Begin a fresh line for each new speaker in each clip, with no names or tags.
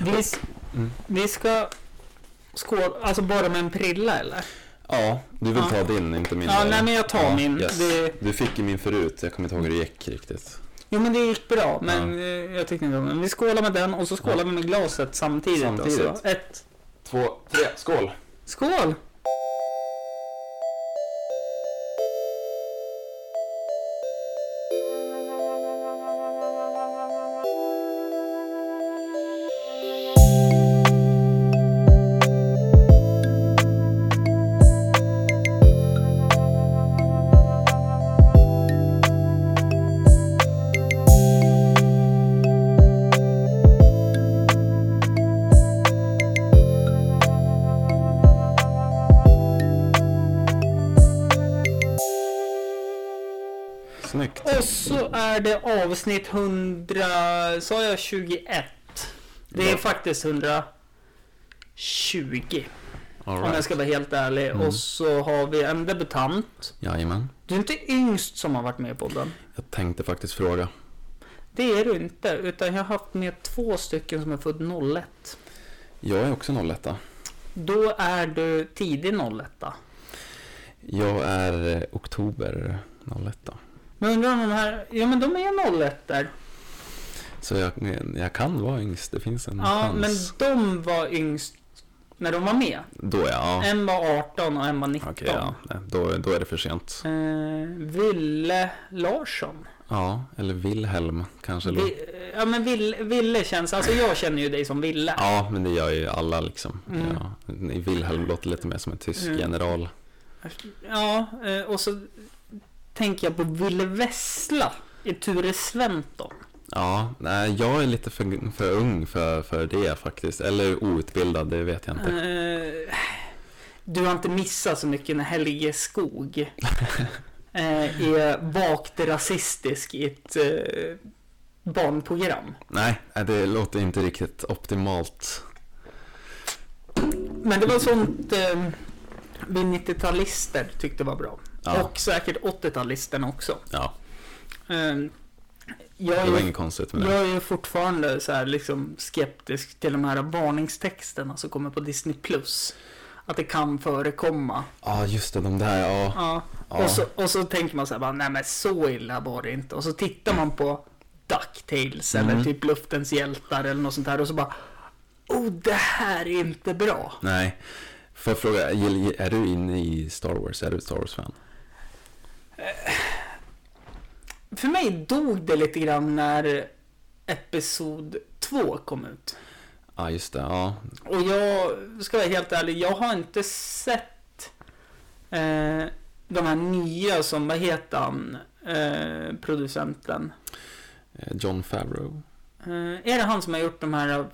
Vi, s-
Mm.
vi ska skåla, alltså bara med en prilla eller?
Ja, du vill
Ja.
ta din, inte min.
Ja,
eller?
nej men jag tar
Ja,
min.
yes.
Det,
Du fick ju min förut, jag kommer inte ihåg hur det gick riktigt.
jo men det gick bra, men eh, jag tyckte inte om den. Vi skålar med den och så skålar vi med glaset samtidigt.
Samtidigt.
Också. Ett.
Två, tre, skål!
Skål!
Snyggt.
Och så är det avsnitt 100, sa jag 21? Det är
Ja.
faktiskt 120
All
om jag
right.
ska vara helt ärlig.
Mm.
Och så har vi en debutant.
Jajamän.
Du är inte yngst som har varit med i podden.
Jag tänkte faktiskt fråga.
Det är du inte, utan jag har haft med två stycken som är född 01.
Jag är också 01.
Då är du tidig 01.
Jag är eh, oktober 01.
Men undrar om de här, ja men de är 01 där.
Så jag, jag kan vara yngst, det finns en
Ja, men
chans.
de var yngst när de var med.
Då är jag, ja.
En var 18 och en var 19.
Okej, ja. Nej, Då, då är det för sent.
Eh, Ville Larsson.
Ja, eller Wilhelm kanske. då.
Vi, ja men Ville, Ville känns, alltså jag känner ju dig som Ville.
Ja, men det gör ju alla liksom.
Mm.
Ja. Wilhelm låter lite mer som en tysk
Mm.
general.
Ja, eh, och så tänker jag på Ville Vessla i Ture Sventon.
Ja, nej, jag är lite för, för ung för, för det faktiskt. Eller outbildad, det vet jag inte.
Eh, du har inte missat så mycket när Helge Skog eh, är vagt rasistisk i ett eh, barnprogram.
Nej, nej, det låter inte riktigt optimalt.
Men det var sånt eh, vi 90-talister tyckte var bra.
Ja,
Och säkert 80-talisterna också.
ja
Eh, jag,
det var
är,
inget konstigt med det.
jag är ju fortfarande så här liksom skeptisk till de här varningstexterna som kommer på Disney+. Plus. Att det kan förekomma.
Ja, just det, de där. Ja,
Ja.
ja.
Och, så, och så tänker man så här, bara, nej men så illa var det inte. Och så tittar man på DuckTales eller
Mm.
typ Luftens hjältar eller något sånt där och så bara, oh det här är inte bra.
Nej. Får jag fråga, gill- är du inne i Star Wars? Är du ett Star Wars-fan?
För mig dog det lite grann när Episod 2 kom ut.
Ja, just det. Ja,
Och jag ska vara helt ärlig, jag har inte sett eh, de här nya som, vad heter han, eh, producenten?
Eh, John Favreau?
Eh, är det han som har gjort de här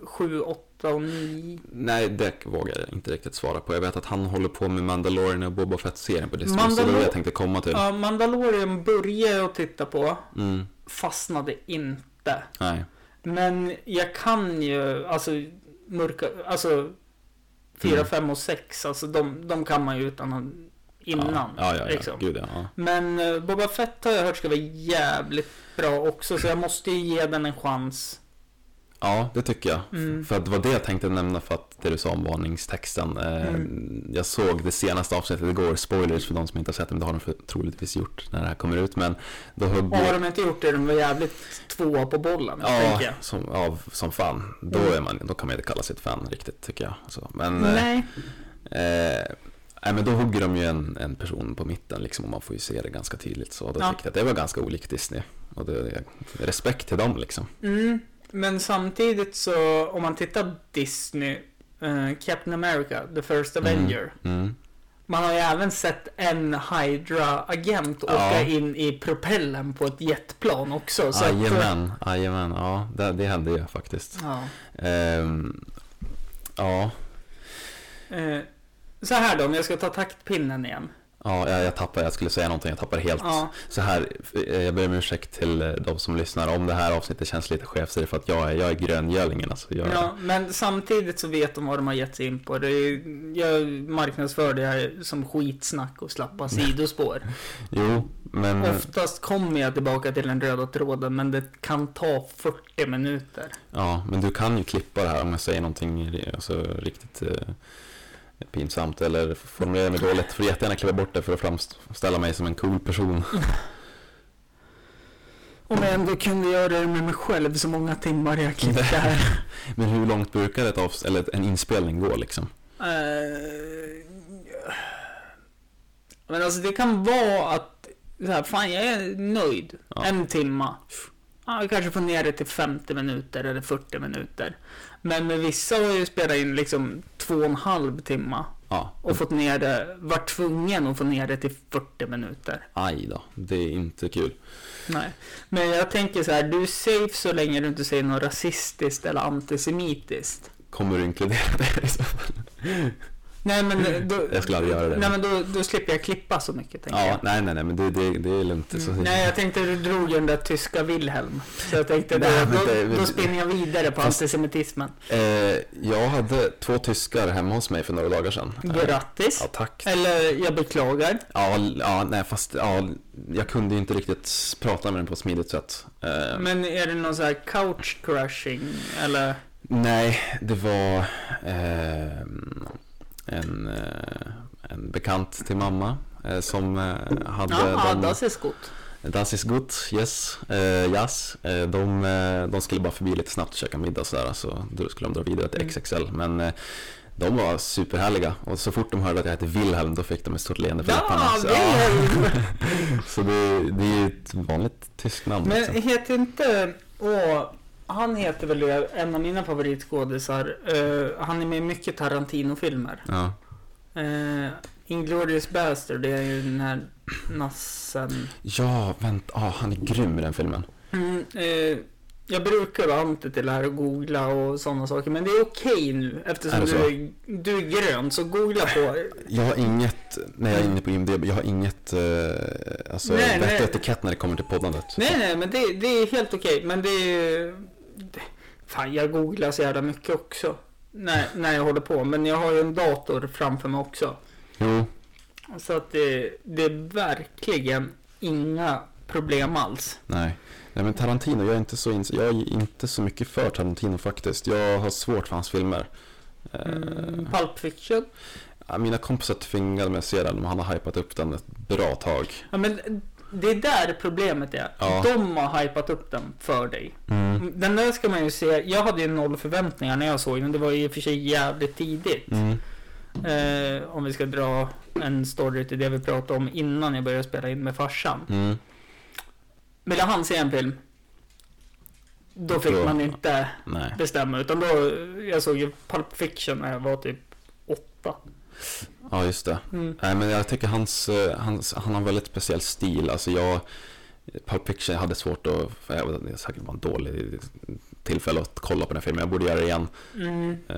7, 8 och 9?
Nej, det vågar jag inte riktigt svara på. Jag vet att han håller på med Mandalorian och Boba Fett-serien på Disney. Så det var
Mandalor-
det jag tänkte komma till.
Ja, Mandalorian började jag att titta på,
Mm,
fastnade inte.
nej.
Men jag kan ju, alltså, mörka, alltså, 4,
Mm.
5 och 6, alltså de, de kan man ju utan att- innan.
Ja, ja, ja. ja.
liksom.
Gud, ja. ja.
Men eh, Boba Fett har jag hört ska vara jävligt bra också, så jag måste ju ge den en chans.
Ja, det tycker jag.
Mm.
För att det var det jag tänkte nämna för att det du sa om varningstexten. Eh,
Mm.
Jag såg det senaste avsnittet igår, spoilers för de som inte har sett det, men det har de för, troligtvis gjort när det här kommer ut. Men då har
Och har de inte gjort det, de var jävligt tvåa på bollen, tänker
ja,
jag.
som, ja, som fan. Då,
Mm.
är man, då kan man inte kalla sig ett fan riktigt tycker jag. Så, men, eh,
Nej.
Eh, nej, men då hugger de ju en, en person på mitten liksom, och man får ju se det ganska tydligt. Så då
Ja.
tyckte jag att det var ganska olikt Disney. Och det, respekt till dem liksom.
Mm. Men samtidigt så, om man tittar Disney, eh, Captain America, The First Avenger.
Mm.
Man har ju även sett en Hydra-agent åka
Ja.
in i propellen på ett jetplan också. Så att,
Jajamän, jajamän. Ja, det, det hände ju faktiskt.
ja.
Ehm, ja,
Eh, Så här då, om jag ska ta taktpinnen igen.
ja jag, jag tappar, jag skulle säga någonting, jag tappar helt.
Ja.
Så här, eh, jag ber om ursäkt till eh, de som lyssnar. Om det här avsnittet känns lite skevt så är det för att jag är, jag är gröngölingen. Alltså, jag,
Ja, men samtidigt så vet de vad de har gett sig in på. Det är, jag marknadsför det här som skitsnack och slappa sidospår.
Jo, Men
Oftast kommer jag tillbaka till den röda tråden men det kan ta 40 minuter.
Ja, men du kan ju klippa det här om jag säger någonting alltså, riktigt eh, pinsamt eller formulerar mig dåligt. Får du jättegärna klippa bort det för att framställa mig som en cool person.
Om jag ändå kunde göra det med mig själv så många timmar jag klippte här.
Men hur långt brukar ett avs- eller en inspelning gå liksom?
Eh, Men alltså det kan vara att så här, fan jag är nöjd.
Ja.
En timma. Ja, jag kanske får ner det till 50 minuter eller 40 minuter. Men med vissa har jag ju spelat in liksom två och en halv timma.
Ja,
Och fått ner det, varit tvungen att få ner det till 40 minuter.
aj då, det är inte kul.
Nej, men jag tänker så här, du är safe så länge du inte säger något rasistiskt eller antisemitiskt.
Kommer du inkludera det i så fall?
Nej, men då,
Jag skulle aldrig göra det.
Nej, men då, då slipper jag klippa så mycket, tänker
Ja,
jag.
nej, nej, nej, men det, det, det är lugnt. Så-
Mm. Nej, jag tänkte du drog ju den där tyska Wilhelm. Så jag tänkte,
Nej,
då,
men det-
då, då spinner jag vidare på
Fast-
antisemitismen.
Eh, jag hade två tyskar hemma hos mig för några dagar sedan. Eh,
Grattis!
ja, tack.
Eller, jag beklagar.
Ja, l- ja, nej, fast ja, jag kunde ju inte riktigt prata med den på ett smidigt sätt. Eh,
Men är det någon så här couch crushing, eller?
Nej, det var eh, en, eh, en bekant till mamma eh, som eh, hade
Ja,
dem-
das ist gut.
Das ist gut, yes, eh, yes. Eh, de, eh, de skulle bara förbi lite snabbt och käka middag och sådär, så då skulle de dra vidare till
Mm.
XXL. Men eh, de var superhärliga och så fort de hörde att jag hette Wilhelm då fick de ett stort leende på läpparna.
Ja,
Så,
Wilhelm!
så det, det är ju ett vanligt tyskt namn.
Men
liksom.
heter inte... Åh, han heter väl det, en av mina favoritskådisar. Eh, han är med i mycket Tarantino-filmer.
Ja.
Uh, Inglourious Baster, det är ju den här nassen.
ja, vänta, ah, han är grym i den filmen.
Mm, eh, jag brukar vara anti till det här och googla och sådana saker, men det är okej nu eftersom
Är det
du
så?
är, du är grön, så googla på.
Jag har inget, när jag är inne på IMDB, jag har inget eh, alltså,
Nej,
vett och
nej.
etikett när det kommer till poddandet.
nej, nej, men det, det är helt okej, men det är... det- Fan, jag googlar så jävla mycket också. När, när jag håller på, men jag har ju en dator framför mig också.
Jo,
Så att det, det är verkligen inga problem alls.
nej. Nej men Tarantino, jag är inte så, ins- jag är inte så mycket för Tarantino faktiskt. Jag har svårt för hans filmer. Eh,
Mm, Pulp Fiction.
ja, mina kompisar tvingade mig att se den, men han har hypat upp den ett bra tag.
Ja, men det är där problemet är.
Ja.
De har hypat upp den för dig.
Mm.
Den där ska man ju se. Jag hade ju noll förväntningar när jag såg den. Det var ju i och för sig jävligt tidigt.
Mm.
Eh, om vi ska dra en story till det vi pratade om innan jag började spela in med farsan.
Mm.
Ville han se en film? Då fick
Då-
man inte
Nej.
bestämma. Utan då, jag såg ju Pulp Fiction när jag var typ åtta.
Ja, just det.
Mm.
Nej, men jag tycker hans, eh, hans, han har en väldigt speciell stil. Alltså jag, Pulp Fiction hade svårt att, jag vet, det är säkert bara en dålig tillfälle att kolla på den här filmen. Jag borde göra det igen.
Mm.
Eh,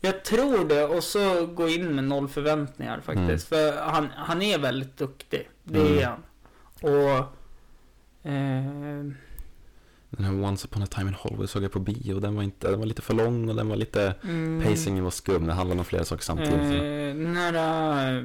Jag tror det och så gå in med noll förväntningar faktiskt. För han, han är väldigt duktig. Det är
Mm.
han. Och... Eh,
Den här Once upon a time in Hollywood såg jag på bio och den var, inte, den var lite för lång och den var lite
mm,
Pacingen var skum, den handlade om flera saker samtidigt.
Eh, den här eh,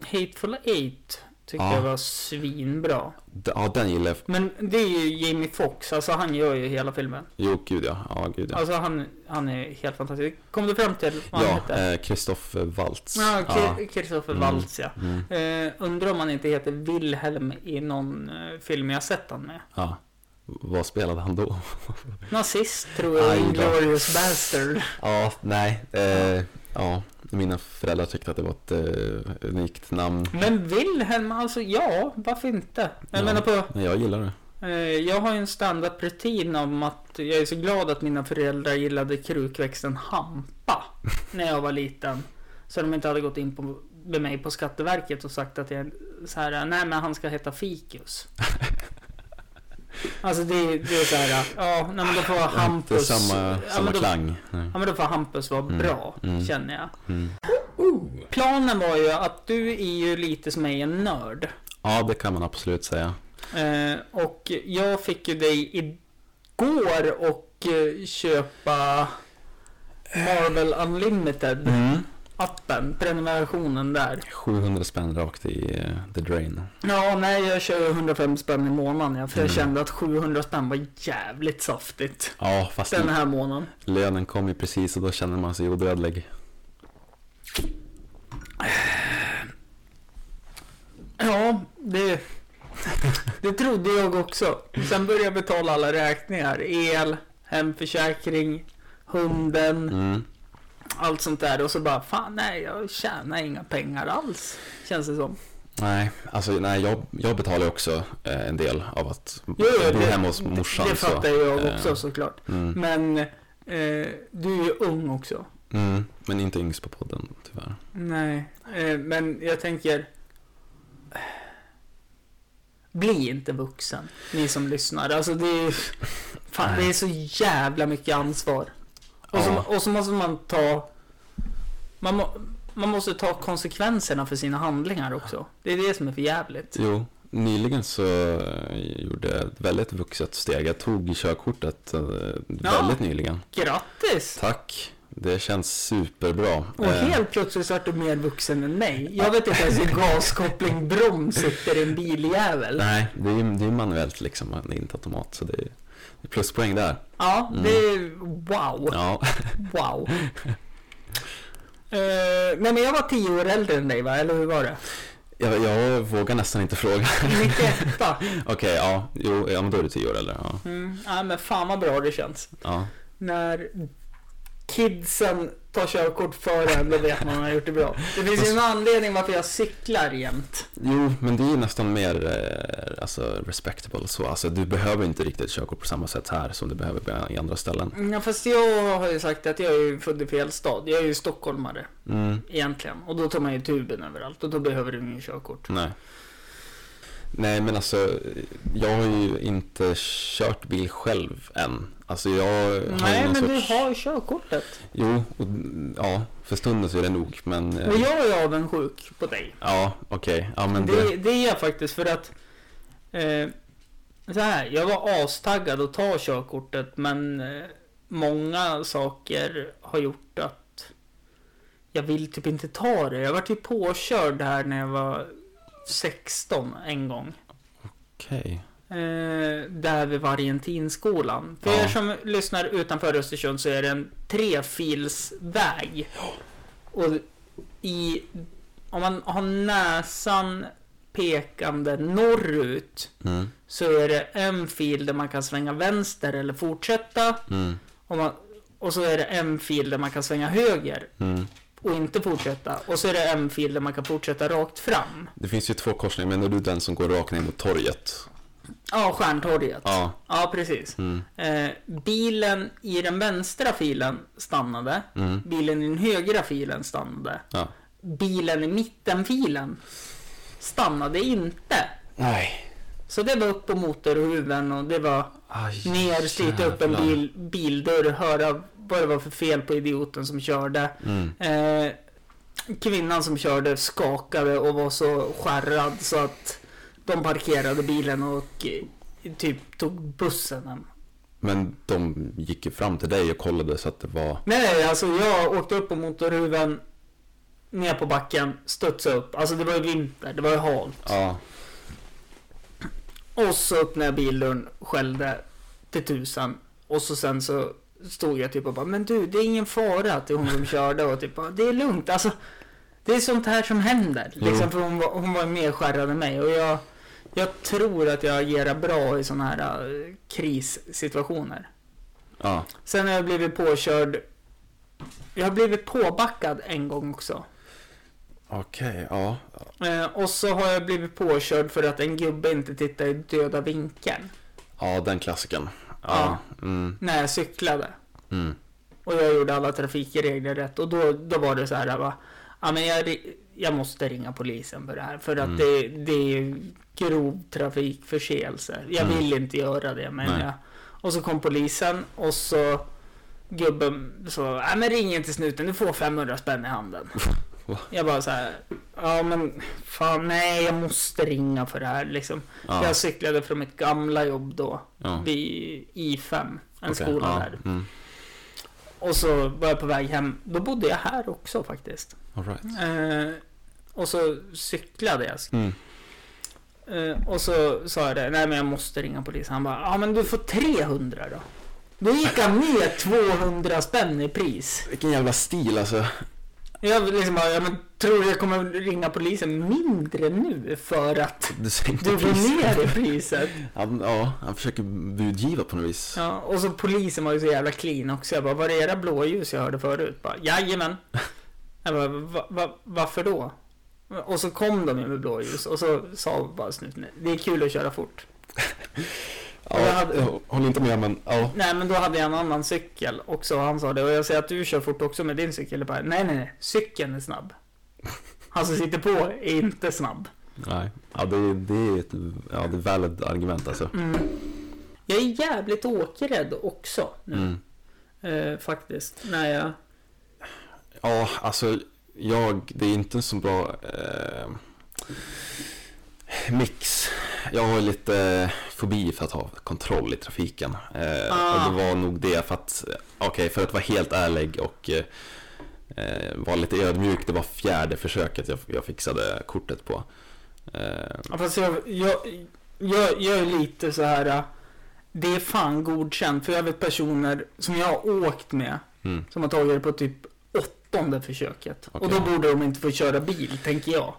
Hateful Eight tyckte
Ja.
jag var svinbra.
D- Ja, den gillade jag.
Men det är ju Jamie Foxx, alltså han gör ju hela filmen.
Jo, gud ja. Ja, gud ja.
Alltså han, han är helt fantastisk. Kom du fram till vad han
Ja,
heter?
eh, Christopher Waltz.
Ja,
ja.
Ki- Christopher
Mm.
Waltz ja.
Mm,
Eh, undrar om han inte heter Wilhelm i någon eh, film jag sett han med.
ja. Vad spelade han då?
Nazist tror jag,
Aj då.
Inglourious Bastard.
Ja, nej. Eh, ja, mina föräldrar tyckte att det var ett eh, unikt namn.
Men Wilhelm, alltså ja, varför inte? Jag
Ja.
menar på,
Men jag gillar det.
eh, jag har ju en standardrutin om att jag är så glad att mina föräldrar gillade krukväxten hampa när jag var liten. Så de inte hade gått in på, med mig på Skatteverket och sagt att jag så här, nej men han ska heta Fikus. Alltså det, är- det är så här, ja, nej, men då får
Inte
Hampus...
samma,
ja,
samma
men då,
klang. Nej.
Ja men då får Hampus vara
Mm,
bra,
mm.
känner jag.
Mm.
Planen var ju att du är ju lite som mig en nörd.
Ja, det kan man absolut säga.
Eh, och jag fick ju dig igår och eh, köpa Marvel Unlimited.
Mm.
appen, prenumerationen där.
700 spänn rakt i eh, the drain.
Ja, nej jag kör 105 spänn i månaden ja, för jag
Mm.
kände att 700 spänn var jävligt saftigt
Ja, fast
den här månaden.
lönen kom ju precis och då känner man sig odödlig.
Ja, det, det trodde jag också. Sen började jag betala alla räkningar. El, hemförsäkring, hunden,
Mm.
allt sånt där. Och så bara, fan nej, jag tjänar inga pengar alls. Känns det som.
Nej, alltså nej, jag, jag betalar ju också eh, en del av att
Jo, jo,
bo
det-
hemma hos morsan.
det fattar
så.
jag
eh,
också såklart.
Mm.
Men eh, du är ju ung också.
Mm, men inte yngst på podden tyvärr.
Nej, eh, men jag tänker... Bli inte vuxen, ni som lyssnar. Alltså det är, fan, det är så jävla mycket ansvar. Och så,
Ja.
och så måste man ta... Man, må, man måste ta konsekvenserna för sina handlingar också. Det är det som är för jävligt.
Jo, nyligen så eh, gjorde jag ett väldigt vuxet steg. Jag tog körkortet eh, väldigt nyligen.
Grattis!
Tack, det känns superbra.
Och
Eh,
helt plötsligt så vart du mer vuxen än mig. Jag vet inte ens hur gaskoppling broms sitter i en biljävel.
Nej, det är ju det är manuellt liksom, det är inte automat. Så det är, det är pluspoäng där.
Ja, det är wow.
Mm. Ja,
Wow. Eh, nej men jag var tio år äldre än dig va, eller hur var det?
jag, jag vågar nästan inte fråga.
91
Okej, ja, jo, ja, men då är du tio år eller? Ja,
mm, Nej men fan vad bra det känns.
ja.
När kidsen tar körkort för en, då vet man att man har gjort det bra. Det finns ju en anledning varför jag cyklar jämt.
Jo, men det är ju nästan mer eh, alltså, respectable så. Alltså, du behöver inte riktigt körkort på samma sätt här som du behöver på- i andra ställen.
Mm, Ja, fast jag har ju sagt att jag är ju född i fel stad. Jag är ju stockholmare
Mm,
egentligen. Och då tar man ju tuben överallt och då behöver du ingen körkort.
nej. Nej, men alltså, jag har ju inte kört bil själv än. Alltså, jag har ju
Nej
någon
men du
sorts-
har körkortet.
Jo, och, ja, för stunden så är det nog, men... eh,
Men jag är avundsjuk på dig.
Ja, okej. Ja, men det...
det, det är jag faktiskt för att... Eh, så här, jag var astaggad att ta körkortet men eh, många saker har gjort att jag vill typ inte ta det. Jag var typ påkörd här när jag var 16 en gång.
Okej.
Eh, där vid Variantinskolan. För
Ja.
er som lyssnar utanför Östersund så är det en trefilsväg. Och i, om man har näsan pekande norrut
Mm,
så är det en fil där man kan svänga vänster eller fortsätta.
mm,
Och, man, och så är det en fil där man kan svänga höger
mm.
och inte fortsätta. Och så är det en fil där man kan fortsätta rakt fram.
Det finns ju två korsningar, men är du den som går rakt ner mot torget?
Ja, Stjärntorget.
Ja.
Ja, precis.
Mm,
Eh, bilen i den vänstra filen stannade.
mm,
Bilen i den högra filen stannade.
ja.
Bilen i mittenfilen stannade inte.
Nej.
Så det var upp på motorhuven och det var
Aj,
ner, slita upp en
jävlar.
bil, bildörr, höra vad det var för fel på idioten som körde.
Mm.
Eh, kvinnan som körde skakade och var så skärrad så att de parkerade bilen och eh, typ tog bussen hem.
Men de gick ju fram till dig och kollade så att det var...
Nej, nej, alltså jag åkte upp på motorhuven, ner på backen, studsade upp. Alltså det var ju vinter, det var ju halt.
Ja.
Och så öppnade jag bildörren, skällde till tusan. Och så sen så stod jag typ och bara, men du, det är ingen fara till hon som körde och typ bara, det är lugnt. Alltså, det är sånt här som händer.
Jo.
Liksom, för hon var, hon var mer skärrad än mig. Och jag, jag tror att jag agerar bra i såna här eh, krissituationer.
Ja.
Sen har jag blivit påkörd. Jag har blivit påbackad en gång också.
Okej, ja.
Eh, och så har jag blivit påkörd för att en gubbe inte tittar i döda vinkeln
Ja, den klassiken. Ja. Mm,
när jag cyklade.
mm.
Och jag gjorde alla trafikregler rätt. Och då, då var det så här, va? Ja, men jag, ri- jag måste ringa polisen för det här. För att
Mm.
det, det är grov trafikförseelse. Jag
Mm.
vill inte göra det, men
Nej.
jag... Och så kom polisen och så gubben så, ja men ring inte snuten, du får 500 spänn i handen.
Va?
jag bara så här, ja men fan nej jag måste ringa för det här liksom.
Ja.
Jag cyklade från mitt gamla jobb då,
ja.
vid I5, en
Okej,
skola
ja.
där.
Mm.
Och så var jag på väg hem. Då bodde jag här också faktiskt.
All right.
Eh, och så cyklade jag.
Mm.
Eh, och så sa jag det. Nej men jag måste ringa polisen. Han bara. Ja men du får 300 då. Då gick han ner 200 spänn i pris.
Vilken jävla stil alltså.
Jag liksom bara. Ja, men tror du jag kommer ringa polisen mindre nu för att
Du sänkte
du går
priset.
ner i priset?
Han, ja, han försöker budgiva på något vis.
Ja, och så polisen var ju så jävla clean också. Jag bara, var det era blåljus jag hörde förut? Bara, Jajamän. Jag bara, va, va, varför då? Och så kom de ju med blåljus och så sa bara snuten, det är kul att köra fort.
Ja,
jag hade-
jag håller inte med men ja.
Nej, men då hade jag en annan cykel också. Han sa det och jag säger att du kör fort också med din cykel. Jag bara, nej, nej, nej, cykeln är snabb. Han som sitter på är inte snabb.
Nej. Ja, det, det är ett ja, det är valid argument alltså.
Mm. Jag är jävligt åkrädd också nu,
Mm.
eh, faktiskt. När jag...
Ja, alltså jag, det är inte en så bra eh, mix. Jag har lite eh, fobi för att ha kontroll i trafiken. Eh,
Ah.
Och det var nog det för att, eh, okej, för att vara helt ärlig och eh, eh, vara lite ödmjuk, det var fjärde försöket jag, jag fixade kortet på. Eh,
Ja, fast jag, jag, jag, jag är lite så här. äh, Det är fan godkänt. För jag vet personer som jag har åkt med.
mm.
Som har tagit det på typ åttonde försöket. Och
Okej.
då borde de inte få köra bil, tänker jag.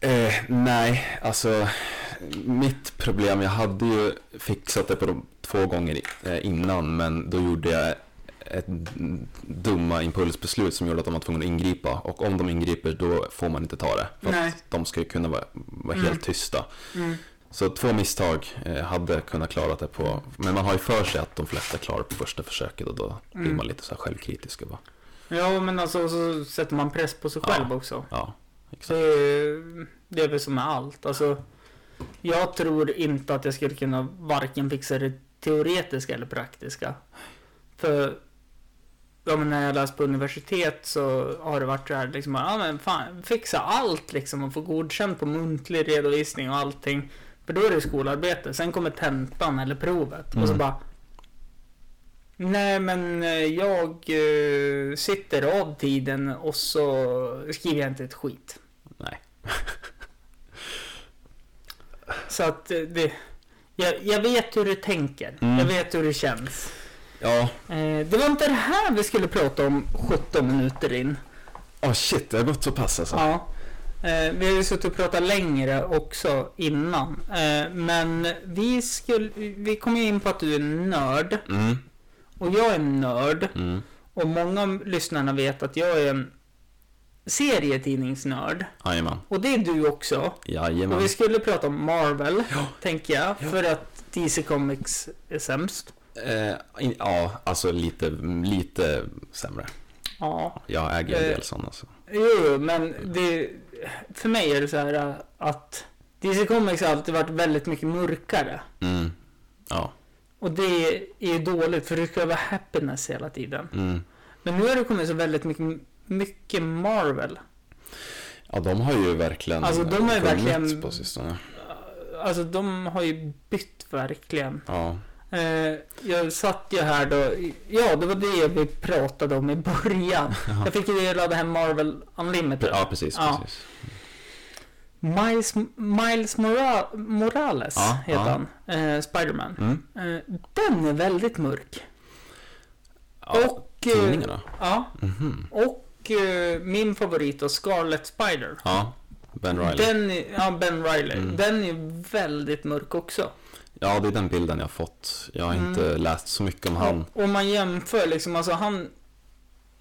Eh, nej, alltså mitt problem, jag hade ju fixat det på de två gånger i- eh, innan men då gjorde jag ett dumma impulsbeslut som gjorde att de var tvungna att ingripa och om de ingriper då får man inte ta det. För att
Nej.
de ska ju kunna vara, vara
Mm.
helt tysta.
Mm.
Så två misstag eh, hade kunnat klara det på, men man har ju för sig att de flesta klarar på första försöket och då blir
Mm.
man lite så här självkritisk och bara,
Ja, men alltså så sätter man press på sig
Ja.
själv också.
ja,
Så
exakt.
det är- det är väl som med allt. Alltså, jag tror inte att jag skulle kunna varken fixa det teoretiska eller praktiska. För ja, men när jag läst på universitet så har det varit så här liksom, ja men fan, fixa allt liksom och få godkänt på muntlig redovisning och allting. För då är det skolarbete. Sen kommer tentan eller provet och så
Mm.
bara Nej men eh, jag eh, sitter av tiden och så skriver jag inte ett skit.
Nej.
Så att eh, det... Jag, jag vet hur du tänker.
Mm.
Jag vet hur det känns.
Ja,
Eh, det var inte det här vi skulle prata om 17 minuter in.
oh, shit, det har gått så pass alltså.
Ja. Eh, vi har ju suttit och pratat längre också innan. Eh, men vi, skulle, vi kom ju in på att du är nörd.
Mm,
Och jag är nörd.
mm.
Och många av lyssnarna vet att jag är en serietidningsnörd.
Jajamän.
Och det är du också. Och
Jajamän.
vi skulle prata om Marvel,
Ja.
tänker jag.
Ja.
För att DC Comics är sämst.
Eh, in, ja, alltså lite, lite sämre.
Ja,
Jag äger en
Eh.
del sådana. Så.
Jo, jo, men det, för mig är det så här äh, att DC Comics har alltid varit väldigt mycket mörkare.
Mm. Ja.
Och det är ju dåligt för det ska vara happiness hela tiden.
Mm.
Men nu har det kommit så väldigt mycket, mycket Marvel.
ja, de har ju verkligen
Alltså, de har ju
kommit
verkligen-
på sistone.
Alltså de har ju bytt verkligen.
Ja.
Eh, jag satt ju här då. Ja, det var det vi pratade om i början. Jag fick ju ladda hem Marvel Unlimited.
ja, precis.
Ja.
precis.
Miles, Miles Mora- Morales
Ja,
heter
ja.
han. Eh, Spiderman.
Mm.
Eh, Den är väldigt mörk.
Ja,
och, eh,
Tidningarna?
ja,
Mhm.
och eh, min favorit då, Scarlet Spider.
Ja, Ben Riley.
Den är, ja, Ben Riley.
Mm.
Den är väldigt mörk också.
Ja, det är den bilden jag har fått. Jag har
Mm.
inte läst så mycket om han.
Och Om man jämför liksom, alltså han...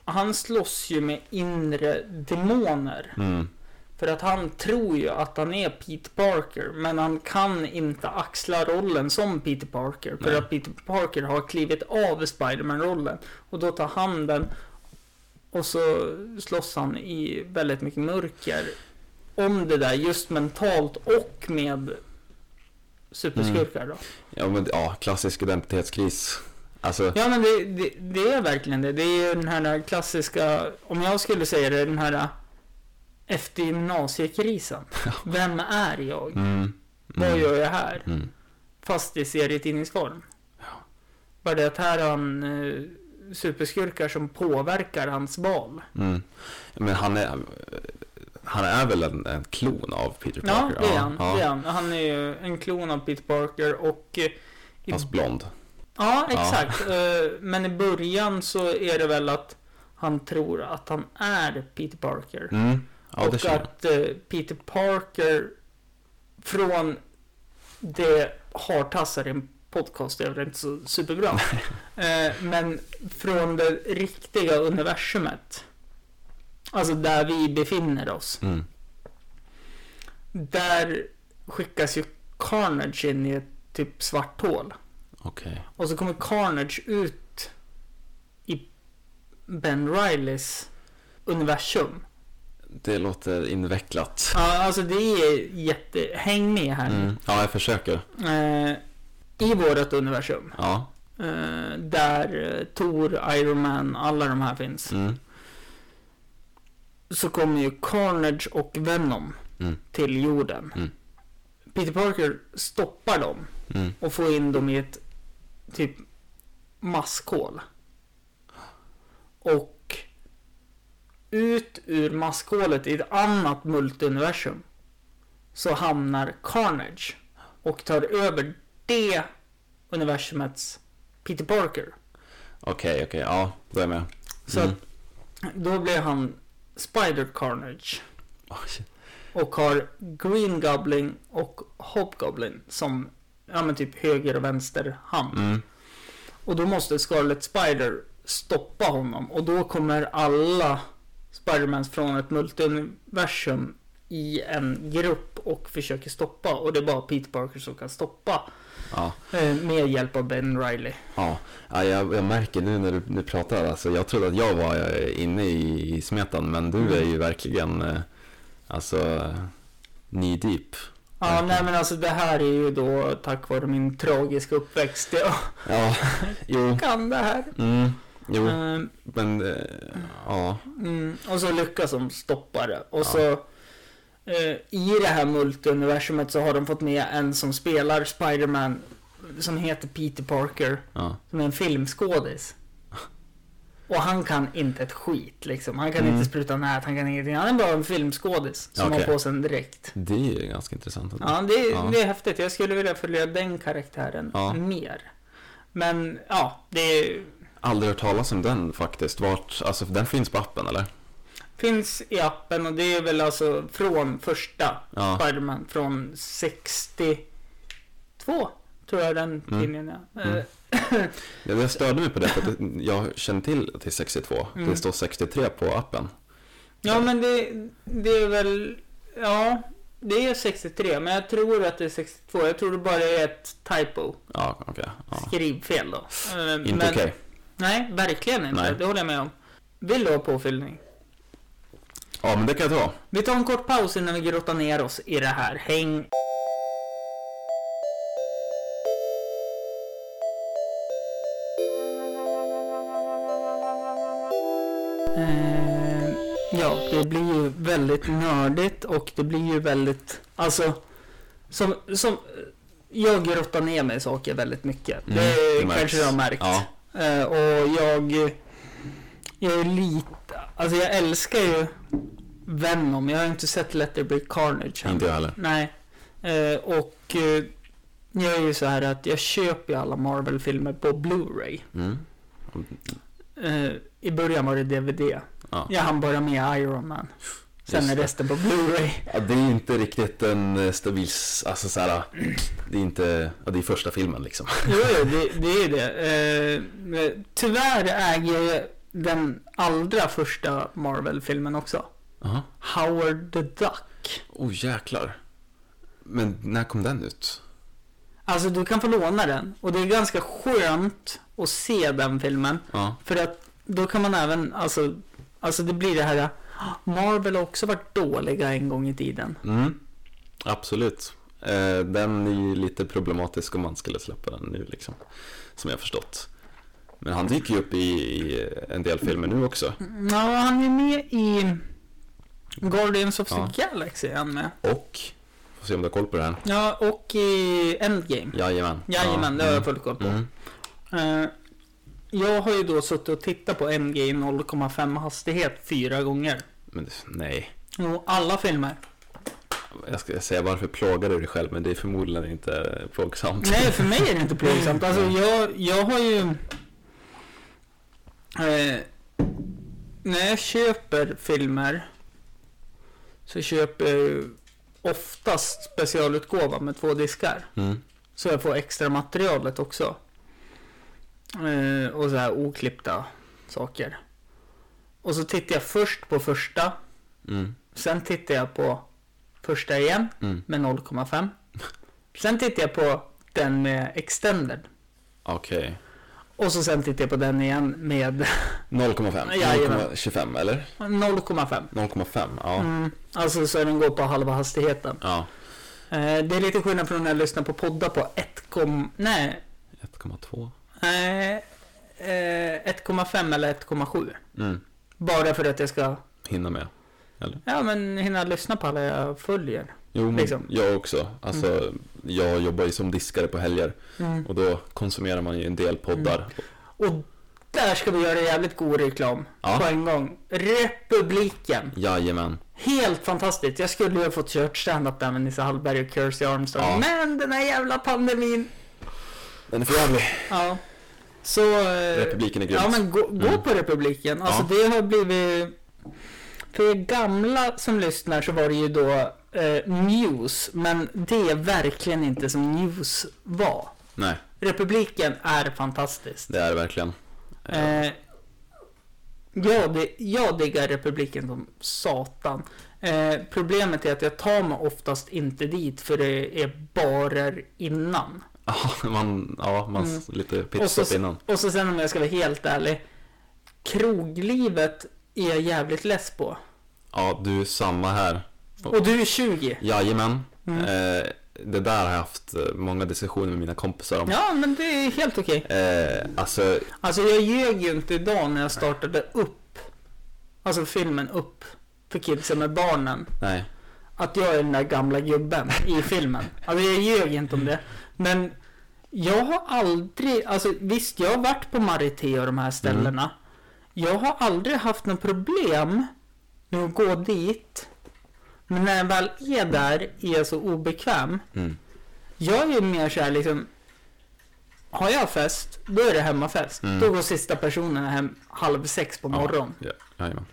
Han slåss ju med inre demoner.
Mm.
För att han tror ju att han är Peter Parker. Men han kan inte axla rollen som Peter Parker. För
Nej.
att Peter Parker har klivit av Spiderman-rollen. Och då tar han den. Och så slåss han i väldigt mycket mörker. Om det där just mentalt och med superskurkar då.
Ja, men ja, klassisk identitetskris. Alltså,
Ja men det, det, det är verkligen det. Det är ju den här klassiska, om jag skulle säga det, den här efter gymnasiekrisen. Vem är jag?
mm.
Vad gör jag här?
Mm.
Fast i serietidningsform. Bara det att här har han eh, superskurkar som påverkar hans val.
Mm. Men han är, han är väl en, en klon av Peter
Ja,
Parker?
det är han.
ja.
Det är han. han är ju en klon av Peter Parker och... eh, I,
Fast blond.
ja,
Ja.
exakt. Eh, Men i början så är det väl att han tror att han är Peter Parker.
Mm. Ja, det
och
känner jag.
att eh, Peter Parker från det har tassar i en podcast är väl inte så superbra. eh, men från det riktiga universumet. Alltså där vi befinner oss.
Mm.
Där skickas ju Carnage in i ett typ svart hål.
Okej.
Och så kommer Carnage ut i Ben Rileys universum.
Det låter invecklat.
Ja, alltså det är jätte... Häng med här nu.
Mm. Ja, jag försöker.
eh, I vårt universum.
Ja.
Eh, där eh, Thor, Iron Man, alla de här finns.
Mm.
Så kommer ju Carnage och Venom
Mm.
till jorden.
Mm.
Peter Parker stoppar dem
Mm.
och får in dem i ett typ maskhål. Och ut ur maskhålet i ett annat multiversum så hamnar Carnage och tar över det universumets Peter Parker.
Okej, okej. Ja, då är jag med.
Så
Mm.
att då blir han Spider Carnage
Oj.
och har Green Goblin och Hobgoblin som ja, men typ höger och vänster hand.
Mm.
Och då måste Scarlet Spider stoppa honom och då kommer alla Spidermans från ett multiversum i en grupp och försöker stoppa och det är bara Peter Parker som kan stoppa
Ja.
eh, med hjälp av Ben Reilly.
Ja, ja jag, jag märker nu när du, nu pratar, alltså, jag trodde att jag var eh, inne i, i smetan, men
Mm.
du är ju verkligen eh, alltså knee deep.
Ja, nej men alltså det här är ju då tack vare min tragiska uppväxt. Jag
Ja, jo,
kan det här.
mm, jo,
Eh,
men eh, ja,
Mm, och så lyckas de stoppa det. Och så eh, i det här multiuniversumet så har de fått med en som spelar Spiderman som heter Peter Parker.
ja,
Som är en filmskådis. Och han kan inte ett skit liksom. Han kan
Mm.
inte spruta nät, han kan ingenting. Han är bara en filmskådis som
Okej.
har på sig en dräkt.
det är ju ganska intressant. ändå.
Ja, det är,
Ja.
det är häftigt. Jag skulle vilja följa den karaktären
Ja.
mer. Men ja, det
Aldrig hört talas om den faktiskt, vart, alltså den finns på appen eller?
finns i appen och det är väl alltså från första
Ja,
Spiderman från 62 tror jag den
Mm.
tidningen är.
Mm.
Eh,
jag, jag störde mig på det för att det- jag känner till att det är 62,
Mm.
det står 63 på appen.
Ja men det, det är väl, ja det är 63 men jag tror att det är 62. Jag tror det bara är ett typo,
Ja, okej. ja.
skrivfel då. Eh, men-
Inte okej.
Nej, verkligen inte.
Nej.
Det håller jag med om. Vill du ha påfyllning?
Ja, men det kan jag ta.
Vi tar en kort paus innan vi grottar ner oss i det här. Häng! Eh, Ja, det blir ju väldigt nördigt och det blir ju väldigt, alltså, som, som jag grottar ner mig i saker väldigt mycket.
Mm,
det
det märks.
kanske du har märkt.
Ja.
Eh, och jag, jag är lite, alltså jag älskar ju Venom. Jag har inte sett Let There Be Carnage än.
Inte jag heller.
Nej. Eh, och eh, jag är ju så här att jag köper ju alla Marvel-filmer på Blu-ray.
Mm.
Eh, I början var det DVD.
Ja.
Jag hann bara med Iron Man. Sen
Just
är
det.
resten på Blu-ray.
Ja, det är ju inte riktigt en eh, stabil, s- alltså så här, det är inte, ja, det är första filmen liksom.
Jo, jo, det, det är det. Eh, men tyvärr äger jag den allra första Marvel-filmen också.
Jaha.
Howard the Duck.
Oh jäklar. Men när kom den ut?
Alltså du kan få låna den. Och det är ganska skönt att se den filmen.
Ja.
För att då kan man även, alltså, alltså det blir det här, "Ah, Marvel har också varit dåliga en gång i tiden.
Mm. Absolut. Eh, Den är ju lite problematisk om man skulle släppa den nu liksom. Som jag har förstått. Men han dyker ju upp i, i en del filmer nu också.
Ja, han är med i Guardians of
Ja.
the Galaxy är han med.
Och, får se om du har koll på det här.
Ja, och i Endgame.
Jajamän.
Jajamän, det har jag full koll på.
Mm.
Eh, jag har ju då suttit och tittat på MG i 0,5 hastighet fyra gånger.
Men det- nej.
Jo, alla filmer.
Jag ska säga varför plågar du dig själv, men det är förmodligen inte plågsamt.
Nej, för mig är det inte plågsamt. Alltså, jag, jag har ju... Eh, när jag köper filmer så köper jag ju oftast specialutgåva med två diskar.
Mm.
Så jag får extra materialet också. Eh, och så här oklippta saker. Och så tittar jag först på första.
Mm.
Sen tittar jag på första igen
Mm.
med 0,5. Sen tittar jag på den med extended.
Okej.
Och så sen tittar jag på den igen med
0,5.
Jajamän.
0,25 eller?
0,5.
0,5. Ja.
Mm. Alltså så den går på halva hastigheten.
Ja.
Eh, det är lite skillnad från när jag lyssnar på poddar på 1, nej,
1,2.
nej, eh, 1,5 eller 1,7.
Mm.
Bara för att jag ska
Hinna med.
ja, men hinna lyssna på alla jag följer.
Jo, men
Liksom.
jag också. Alltså, jag jobbar ju som diskare på helger och då konsumerar man ju en del poddar.
Och där ska vi göra jävligt god reklam
Ja.
på en gång. Republiken.
Jajamän.
Helt fantastiskt. Jag skulle ju ha fått kört standup där med Nisse Hallberg och Kirsty Armstrong.
Ja.
Men den här jävla pandemin.
Den är för jävlig.
Ja. Så... eh,
Republiken är grymt. Mm.
Ja men gå, gå på Republiken. Alltså det har blivit... För er gamla som lyssnar så var det ju då eh, news. Men det är verkligen inte som news var.
Nej,
Republiken är fantastiskt.
det är det verkligen.
Eh, jag, di- jag diggar Republiken som satan. Eh, problemet är att jag tar mig oftast inte dit för det är barer innan.
Ja, man, ja, man Mm. s- lite
Och så,
pitchat innan.
och så sen om jag ska vara helt ärlig. Kroglivet är jag jävligt less på.
Ja, du, samma här.
Och du är 20.
Jajamän. Eh, det där har jag haft eh, många diskussioner med mina kompisar om.
Ja, men det är helt okej.
Eh, alltså,
Alltså jag ljög ju inte idag när jag startade upp. Alltså filmen upp. För kidsen med barnen.
nej.
att jag är den där gamla gubben i filmen. Alltså jag ljög inte om det. Men jag har aldrig, alltså visst jag har varit på Marité och de
Mm.
här ställena. Jag har aldrig haft något problem med att gå dit. Men när jag väl är där är jag så obekväm.
Mm.
Jag är mer såhär liksom Har jag fest, då är det hemmafest.
Mm.
Då går sista personen hem halv sex på morgonen.
Ja, jajamän.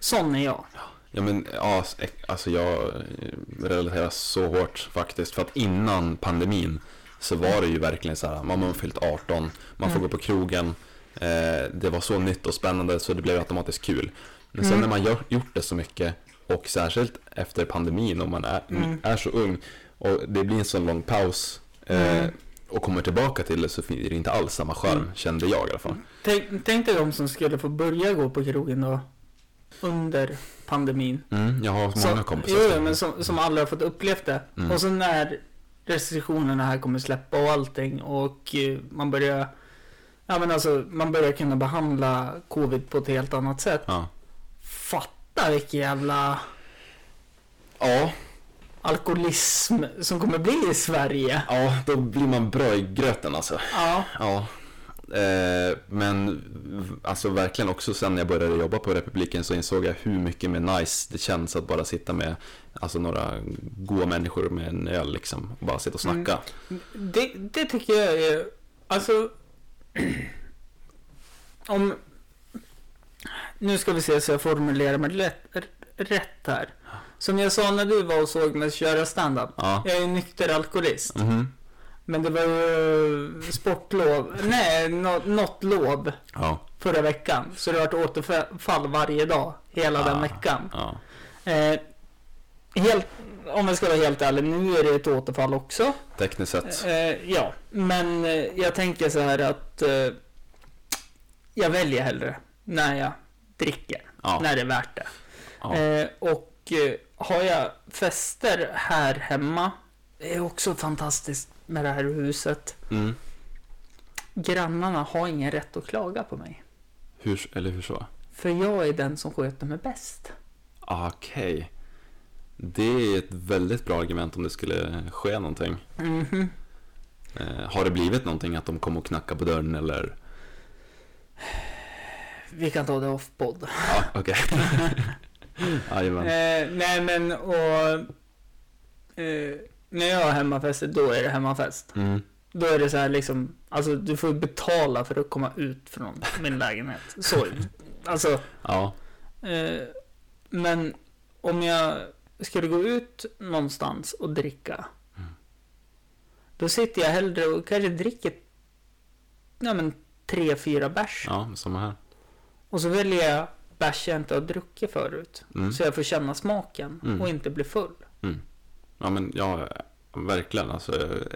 Sån är jag.
Ja men ja, s- ek- alltså jag eh, relaterar så hårt faktiskt. För att innan pandemin så var det ju verkligen så här, man har fyllt 18, man får
Mm.
gå på krogen. Eh, det var så nytt och spännande så det blev automatiskt kul. Men
Mm.
sen när man gör, gjort det så mycket och särskilt efter pandemin om man är,
Mm.
är så ung och det blir en sån lång paus eh,
Mm.
och kommer tillbaka till det så fin- är det inte alls samma charm kände jag i alla fall.
Tänk, tänk dig de som skulle få börja gå på krogen då. Under pandemin.
Mm, jag har många
som,
kompisar.
jo, jo,
som-
men som, som aldrig har fått upplevt det. Och så när restriktionerna här kommer släppa och allting och eh, man börjar Ja men alltså man börjar kunna behandla covid på ett helt annat sätt.
Ja.
Fatta vilken jävla
ja,
alkoholism som kommer bli i Sverige.
ja, då blir man bra i gröten alltså.
Ja.
Ja, eh, men v- alltså verkligen också sen när jag började jobba på Republiken så insåg jag hur mycket mer nice det känns att bara sitta med alltså några goa människor med en öl liksom och bara sitta och snacka.
Det, det tycker jag är... Alltså... om... Nu ska vi se så jag formulerar mig lätt, r- rätt här. Som jag sa när du var och såg mig köra standup.
Ja.
Jag är nykter alkoholist.
Mhm.
Men det var ju sportlov. Nej, nå- något lov
Ja,
förra veckan. Så det har varit återfall varje dag hela den
Ah.
veckan.
ja,
Eh, helt, om jag ska vara helt ärlig, nu är det ett återfall också.
tekniskt sett.
Eh, ja, men eh, jag tänker så här att eh, jag väljer hellre när jag dricker,
Ja,
när det är värt det.
Ja.
Eh, och eh, har jag fester här hemma, det är också fantastiskt med det här huset.
mm.
Grannarna har ingen rätt att klaga på mig,
hur, eller hur så?
för jag är den som sköter mig bäst.
Ah, Okej, det är ett väldigt bra argument om det skulle ske någonting.
Mhm.
Eh, har det blivit någonting att de kom och knackade på dörren eller?
Vi kan ta det off-podd.
Ja, okej. Jajamän.
Eh, nej men och... Eh, när jag har hemmafester, då är det hemmafest.
Mm.
Då är det så här liksom, alltså du får betala för att komma ut från min lägenhet. Så, alltså.
Ja.
Eh, men om jag skulle gå ut någonstans och dricka.
Mm.
Då sitter jag hellre och kanske dricker nej men, tre, fyra bärs.
ja, samma här.
Och så väljer jag bärs jag inte har druckit förut.
Mm.
Så jag får känna smaken
Mm.
och inte bli full.
Ja, men ja, verkligen. Alltså,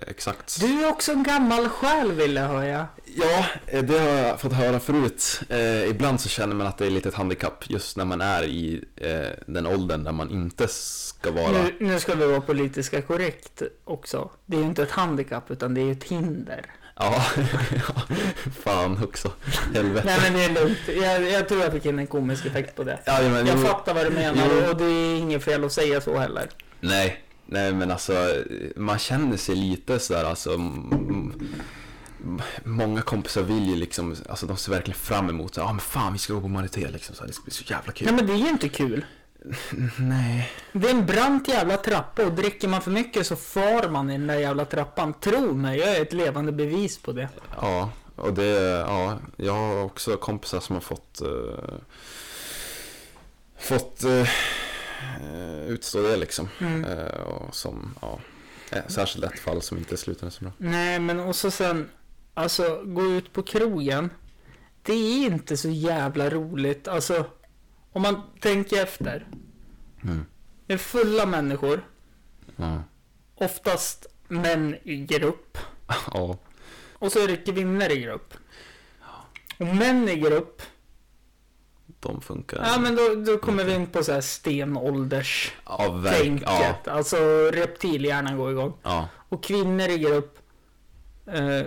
exakt.
Du är också en gammal själ ville jag höra.
Ja, eh, det har jag fått höra förut. Eh, ibland så känner man att det är lite ett handikapp just när man är i eh, den åldern där man inte ska vara.
Nu, nu ska vi vara politiska korrekt också. Det är ju inte ett handikapp utan det är ju ett hinder.
Ja, fan också. Helvete.
Nej men det är lugnt. Jag, jag tror jag fick in en komisk effekt på det.
Ja, men,
Jag
jo.
fattar vad du
Jo.
menar och det är inget fel att säga så heller.
Nej, nej men alltså man känner sig lite sådär alltså m- m- Många kompisar vill ju liksom, alltså de ser verkligen fram emot ja ah, men fan vi ska gå på Marité liksom så här, det ska bli så jävla kul.
Nej men det är ju inte kul. Mm,
Nej.
Det är en brant jävla trappa och dricker man för mycket så far man i den där jävla trappan. Tro mig, jag är ett levande bevis på det.
Ja, och det, ja, jag har också kompisar som har fått eh, Fått eh, eh, utstå det liksom.
Mm.
Eh, och som, ja, eh, särskilt ett fall som inte slutade så bra.
Nej men och så sen, alltså gå ut på krogen. Det är inte så jävla roligt. Alltså, om man tänker efter.
Mm.
Det är fulla människor,
Ja,
oftast män i grupp.
ja,
Och så är det kvinnor i grupp. Och män i grupp,
de funkar.
ja men då, då kommer vi in på så här stenålders
ja, verk, ja,
tänket. Alltså reptilhjärnan går igång.
ja.
Och kvinnor i grupp. Eh,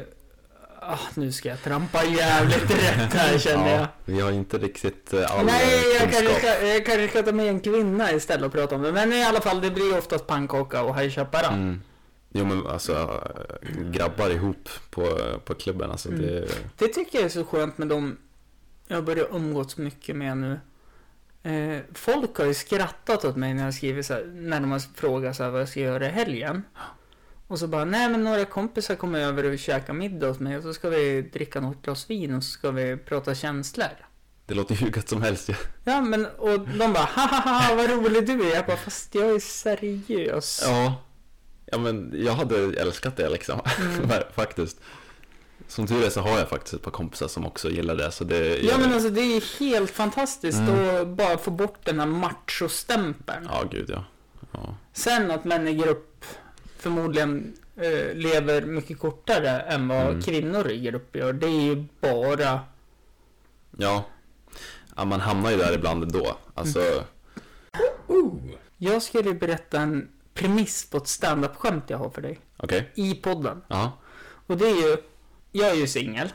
ah, nu ska jag trampa jävligt rätt här känner jag.
Vi har inte riktigt eh, all
Nej, jag
kunskap.
kanske, ska, jag kanske ska ta med en kvinna istället och prata om det. Men i alla fall, det blir oftast pannkaka och High Chaparral.
Mm. Jo men alltså, eh, grabbar ihop på, på klubben alltså.
Mm.
Det,
Det tycker jag är så skönt med dem jag börjar umgås mycket med nu. Eh, folk har ju skrattat åt mig när jag skriver så här, när de har frågat så här, vad jag ska göra i helgen. Och så bara, nej men några kompisar kommer över och käkar middag hos mig och så ska vi dricka något glas vin och så ska vi prata känslor.
det låter ju hur gött som helst ju.
Ja men och de bara, "Ha, ha ha, vad rolig du är. Jag bara, fast jag är seriös.
Ja. Ja men jag hade älskat det liksom.
Mm.
Ver- faktiskt. Som tur är så har jag faktiskt ett par kompisar som också gillar det så det
Ja men alltså det är ju helt fantastiskt att bara få bort den här machostämpeln.
Ja gud ja. Ja.
Sen att män i grupp förmodligen eh, lever mycket kortare än vad
Mm.
kvinnor i grupp gör. Det är ju bara...
ja. Ja man hamnar ju där ibland ändå. Alltså.
Mm. Jag skulle berätta en premiss på ett standup-skämt jag har för dig.
Okej.
I podden.
Ja.
Och det är ju... Jag är ju singel.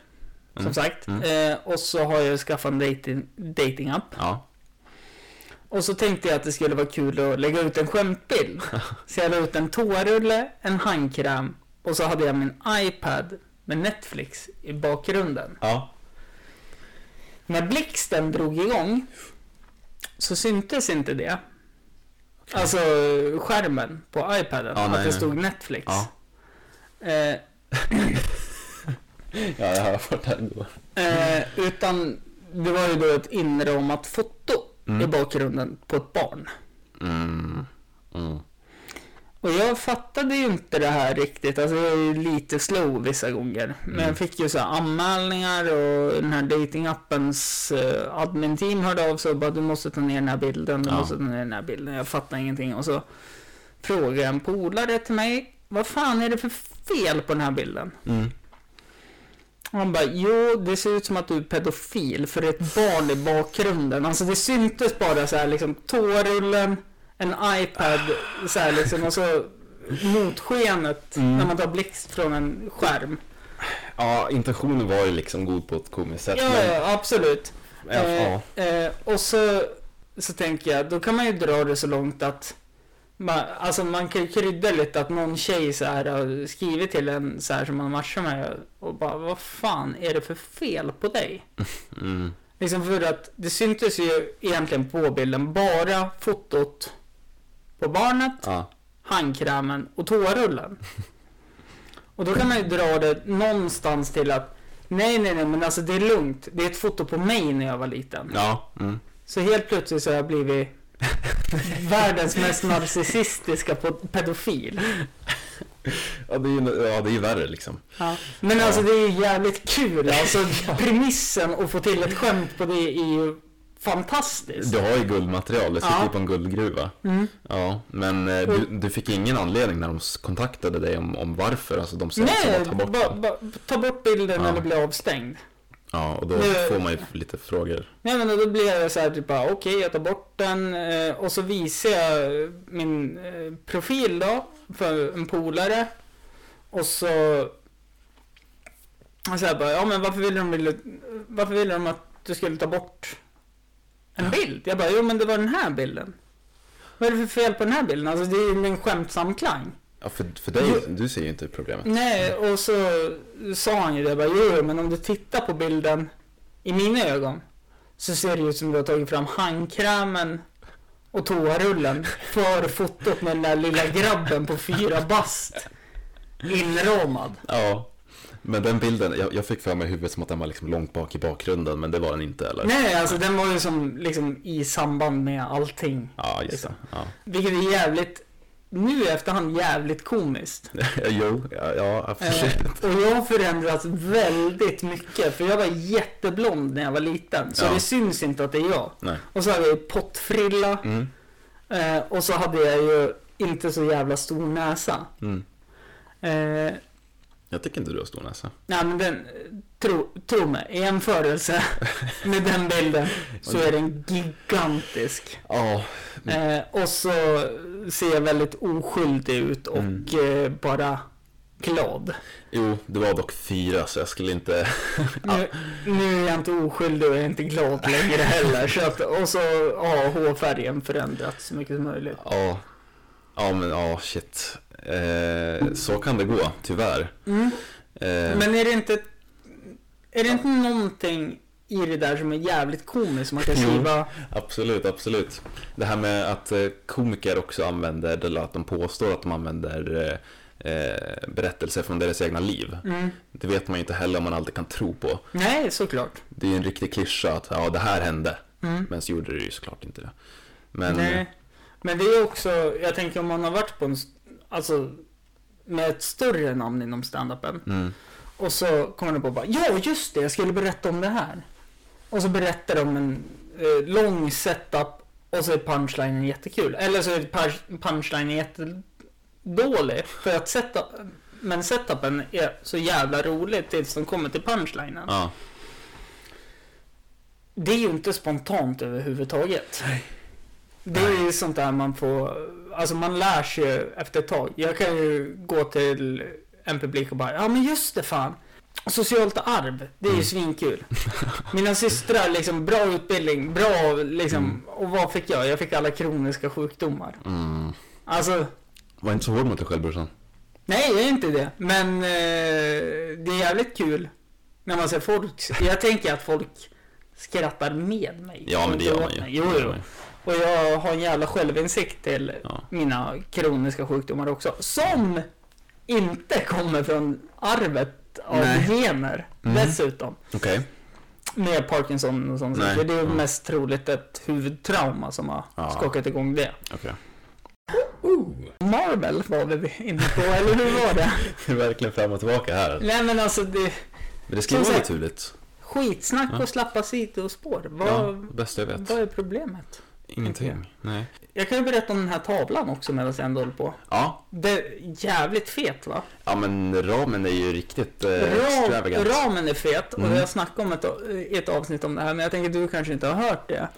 Mm.
Som sagt. Eh, och så har jag skaffat en dating, dating-app.
Ja.
Och så tänkte jag att det skulle vara kul att lägga ut en skämtbild. Så jag la ut en toarulle, en handkräm och så hade jag min iPad med Netflix i bakgrunden.
Ja.
När blixten drog igång så syntes inte det. Alltså skärmen på iPaden,
Ja,
att
nej,
det
nej.
stod Netflix.
Ja.
Eh,
Ja jag har varit där ändå.
eh, utan det var ju då ett inramat foto i bakgrunden på ett barn.
Mm. Mm.
Och jag fattade ju inte det här riktigt, alltså jag är ju lite slow vissa gånger. Men jag fick ju så här anmälningar och den här datingappens eh, admin-team hörde av sig och bara du måste ta ner den här bilden, du
Ja.
måste ta ner den här bilden, jag fattar ingenting. Och så frågade en polare till mig, vad fan är det för fel på den här bilden?
Mm.
Och han bara, jo det ser ut som att du är pedofil för det är ett barn i bakgrunden. Alltså det syntes bara så här liksom tårullen, en iPad så här liksom och så motskenet
Mm.
när man tar blixt från en skärm.
Ja, intentionen var ju liksom god på ett komiskt sätt.
Ja,
men,
ja Eh. absolut.
ja.
Eh, eh, och så, så tänker jag, då kan man ju dra det så långt att Man, alltså man kan ju krydda lite att någon tjej så här har skrivit till en så här som man matchar med och bara vad fan är det för fel på dig?
Mm.
Liksom för att det syntes ju egentligen på bilden bara fotot på barnet
Ja.
handkrämen och toarullen. Och då kan man ju dra det någonstans till att nej, nej, nej, men alltså det är lugnt. Det är ett foto på mig när jag var liten.
Ja. Mm.
Så helt plötsligt så har jag blivit världens mest narcissistiska po- pedofil.
Ja, det är ju ja, det är ju värre liksom.
Men
Ja.
alltså det är ju jävligt kul. Alltså premissen att få till ett skämt på det är ju fantastiskt.
Du har ju guldmaterial, det sitter
Ja.
ju på en guldgruva.
Mm.
Ja, men eh, du, du fick ingen anledning när de s- kontaktade dig om, om varför? Alltså de sa alltså
Nej,
bara ta bort
ba,
den.
ba, ta bort bilden
Ja.
eller bli avstängd.
Ja, och då
Nu-
får man ju lite frågor.
Nej men då blir jag så här typ bara okej jag tar bort den eh, och så visar jag min eh, profil då för en polare. Och så... Och så här bara, ja men varför ville de, ville, varför ville de att du skulle ta bort en bild? Jag bara, jo men det var den här bilden. Vad är det för fel på den här bilden? Alltså det är ju en skämtsam klang.
Ja, för, för dig, du ser ju inte problemet.
Nej, och så sa han ju det bara, jo, jo, men om du tittar på bilden i mina ögon så ser det ut som du har tagit fram handkrämen och toarullen för fotot med den där lilla grabben på fyra bast inramad.
Ja, men den bilden, jag, jag fick för mig i huvudet som att den var liksom långt bak i bakgrunden, men det var den inte eller?
Nej, alltså den var ju som liksom i samband med allting.
Ja, just det. Ja.
Vilket är jävligt, nu i efterhand jävligt komiskt.
jo, ja, ja absolut.
Eh, och jag har förändrats väldigt mycket för jag var jätteblond när jag var liten så
Ja.
det syns inte att det är jag.
Nej.
Och så hade jag ju pottfrilla
Mm,
eh, och så hade jag ju inte så jävla stor näsa.
mm.
Eh,
Jag tycker inte du har stor näsa.
nej men den, tro, tro mig, i jämförelse med den bilden så är den gigantisk.
Ja, Mm.
Eh, och så ser jag väldigt oskyldig ut och
Mm.
eh, bara glad.
jo, det var dock fyra så jag skulle inte...
Nu, nu är jag inte oskyldig och jag är inte glad längre heller. Så att, och så har hårfärgen förändrats så mycket som möjligt.
Ja, ja men ja, shit. Eh, så kan det gå, tyvärr. Eh,
Mm. Men är det inte Är det inte någonting i det där som är jävligt komiskt som man kan
Jo.
skriva
Absolut, absolut. Det här med att eh, komiker också använder, eller att de påstår att de använder eh, eh, berättelser från deras egna liv.
mm.
Det vet man ju inte heller om man alltid kan tro på.
Nej, såklart
Det är ju en riktig klyscha att ja, det här hände.
mm.
Men så gjorde det ju såklart inte det. Men eh,
Nej. Men det är också Jag tänker om man har varit på en s- Alltså Med ett större namn inom standupen
mm,
Och så kommer de på bara Ja, just det, jag skulle berätta om det här Och så berättar de en eh, lång setup Och så är punchlinen jättekul Eller så är punch- punchlinen jättedålig För att setup Men setupen är så jävla rolig tills de kommer till punchlinen
ja.
Det är ju inte spontant överhuvudtaget Det är ju sånt där man får Alltså man lär sig ju efter ett tag Jag kan ju gå till en publik och bara Ja men just det fan Socialt arv, det är
Mm.
ju svinkul Mina systrar liksom, bra utbildning, bra liksom Och vad fick jag? Jag fick alla kroniska sjukdomar
Mm.
Alltså
Var inte så hård mot dig själv brorsan.
Nej, jag är inte det. Men eh, det är jävligt kul när man ser folk. Jag tänker att folk skrattar med mig.
Ja, men det gör man
Åt
ju.
mig. Jo, jo. Och jag har en jävla självinsikt till
Ja.
mina kroniska sjukdomar också. Som inte kommer från arvet av
Nej.
gener
Mm.
dessutom.
Okej.
Med Parkinson och sånt.
Nej.
saker. Det är ju
Mm.
mest troligt ett huvudtrauma som har
Ja.
skakat igång det.
Okej.
Marvel var vi inne på, eller hur var det?
Det är verkligen fram och tillbaka här.
Nej men alltså det...
Men det ska
Som
ju vara
sagt-
naturligt.
Skitsnack
Ja.
och slappa sidospår. Vad,
Ja, bäst jag vet.
vad är problemet?
Ingenting. Nej.
Jag kan ju berätta om den här tavlan också medan jag ändå håller på.
Ja,
Det är jävligt fet va?
Ja men ramen är ju riktigt eh,
Ram,
extravagant.
ramen är fet och
Mm.
vi har snackat om ett, i ett avsnitt om det här men jag tänker att du kanske inte har hört det.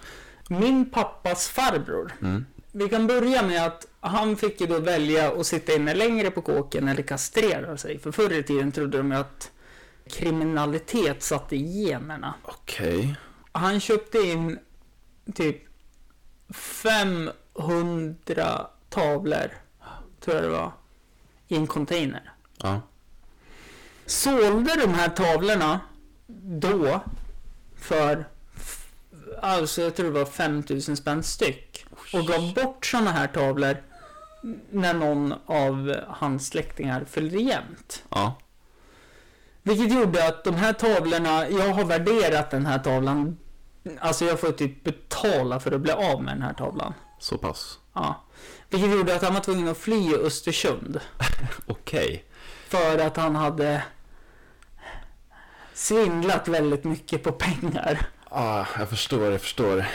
Min pappas farbror.
Mm.
Vi kan börja med att han fick ju då välja att sitta inne längre på kåken eller kastrera sig. För förr i tiden trodde de ju att kriminalitet satt i generna.
Okej.
Han köpte in typ 500 tavlor, tror jag det var, i en container.
Ja.
Sålde de här tavlorna då för, alltså jag tror det var 5000 spänn styck. Och gav bort sådana här tavlor när någon av hans släktingar följde jämt.
Ja.
Vilket gjorde att de här tavlorna, jag har värderat den här tavlan. Alltså jag får typ betala för att bli av med den här tavlan.
Så pass.
Ja. Vilket gjorde att han var tvungen att fly Östersund.
Okej.
För att han hade svindlat väldigt mycket på pengar.
Ah, jag förstår, jag förstår.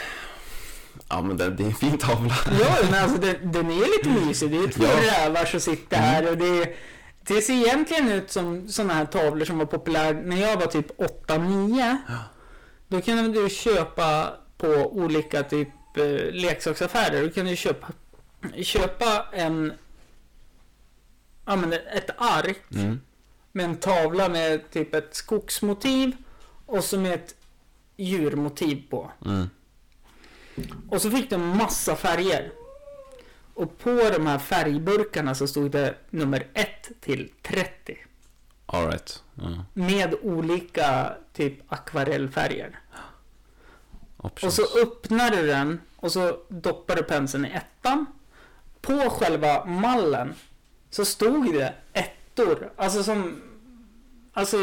Ja, men det, det är en fin tavla.
Ja, men alltså den, den är ju lite mysig. Det är ju två
Ja.
rävar som sitter här och det är, det ser egentligen ut som sådana här tavlor som var populära när jag var typ 8-9. Då kunde du köpa på olika typ eh, leksaksaffärer. Du kunde köpa, köpa en, ja men ett ark
Mm.
med en tavla med typ ett skogsmotiv och så med ett djurmotiv på.
Mm.
Och så fick de massa färger. Och på de här färgburkarna så stod det nummer 1 till 30.
All right. Mm. Ja,
Med olika typ akvarellfärger.
ja,
Och
precis.
så öppnar du den och så doppar du penseln i ettan. På själva mallen så stod det ettor. Alltså som... Alltså,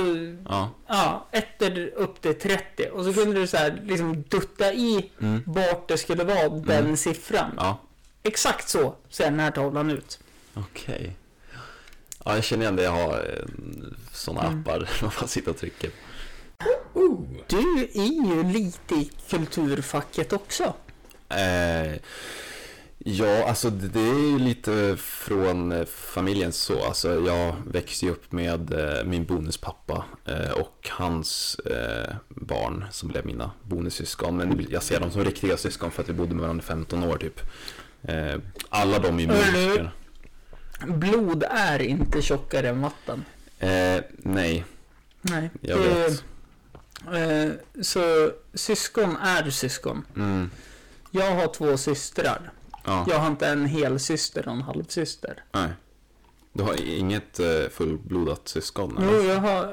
Ja.
ja, ettor upp till 30. Och så kunde du så här liksom dutta i
Mm.
vart det skulle vara den
Mm.
siffran.
Ja.
Exakt så ser den här tavlan ut.
Okej. Ja, jag känner igen det. Jag har sådana
Mm.
appar. Man bara sitter och trycker.
Du är ju lite i kulturfacket också.
Eh, ja, alltså det, det är ju lite från eh, familjen så. Alltså jag växte ju upp med eh, min bonuspappa eh, och hans eh, barn som blev mina bonussyskon. Men jag ser dem som riktiga syskon för att vi bodde med varandra i 15 år typ. Eh, alla de är ju
Hörru.
musiker.
Blod är inte tjockare än vatten.
Eh, nej,
Nej,
jag
det-
vet.
eh, så syskon är syskon.
Mm,
Jag har två systrar.
ja,
Jag har inte en hel syster och en halvsyster.
nej. Du har inget eh, fullblodat syskon?
Jo,
eller?
jag har...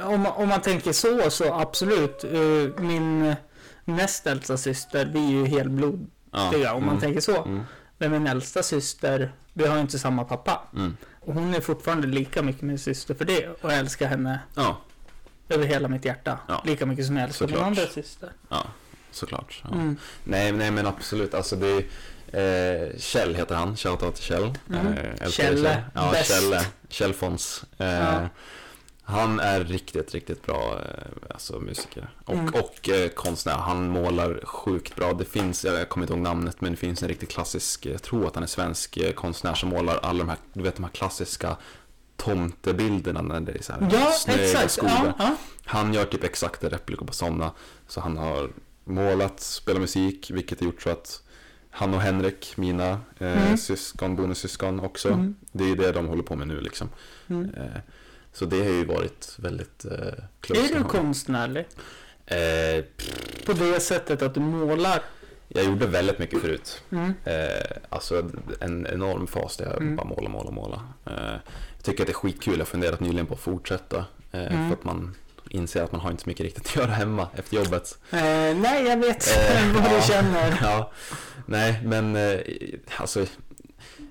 eh, Om, man- om man tänker så, så absolut. Eh, Min näst äldsta syster, vi är ju helblodiga
Ja,
om man
mm,
tänker så.
mm,
Men min äldsta syster, vi har ju inte samma pappa.
mm.
Och hon är fortfarande lika mycket min syster för det och jag älskar henne
Ja,
över hela mitt hjärta.
Ja.
Lika mycket som jag älskar min
Såklart.
andra syster.
ja, såklart. Ja.
Mm.
Nej, nej men absolut. Alltså det är, eh, Kjell heter han. Shoutout till Kjell.
Mm.
Eh, älskar
Kjelle,
Ja,
bäst.
Kjelle. Kjell Fons. Eh,
Ja.
Han är riktigt, riktigt bra eh, alltså, musiker och,
Mm.
och eh, konstnär. Han målar sjukt bra. Det finns, jag kommer inte ihåg namnet, men det finns en riktigt klassisk, jag tror att han är svensk eh, konstnär som målar alla de här, du vet de här klassiska tomtebilderna när det är så här
Ja,
snö i
exakt.
skogen.
Ja, ja.
Han gör typ exakta replikor på sådana. Så han har målat, spelat musik, vilket har gjort så att han och Henrik, mina eh,
Mm.
syskon, bonussyskon också.
Mm.
Det är ju det de håller på med nu liksom.
Mm.
Eh, så det har ju varit väldigt eh, close
Är
till
du
honom.
konstnärlig?
eh, pff,
På det sättet att du målar?
Jag gjorde väldigt mycket förut.
Mm.
Eh, alltså en enorm fas där jag
Mm.
bara måla, måla, måla. Eh, jag tycker att det är skitkul, jag har funderat nyligen på att fortsätta. Eh,
Mm.
För att man inser att man har inte så mycket riktigt att göra hemma efter jobbet.
Eh, nej, jag vet
Eh,
vad du
ja.
känner.
Ja, nej men eh, alltså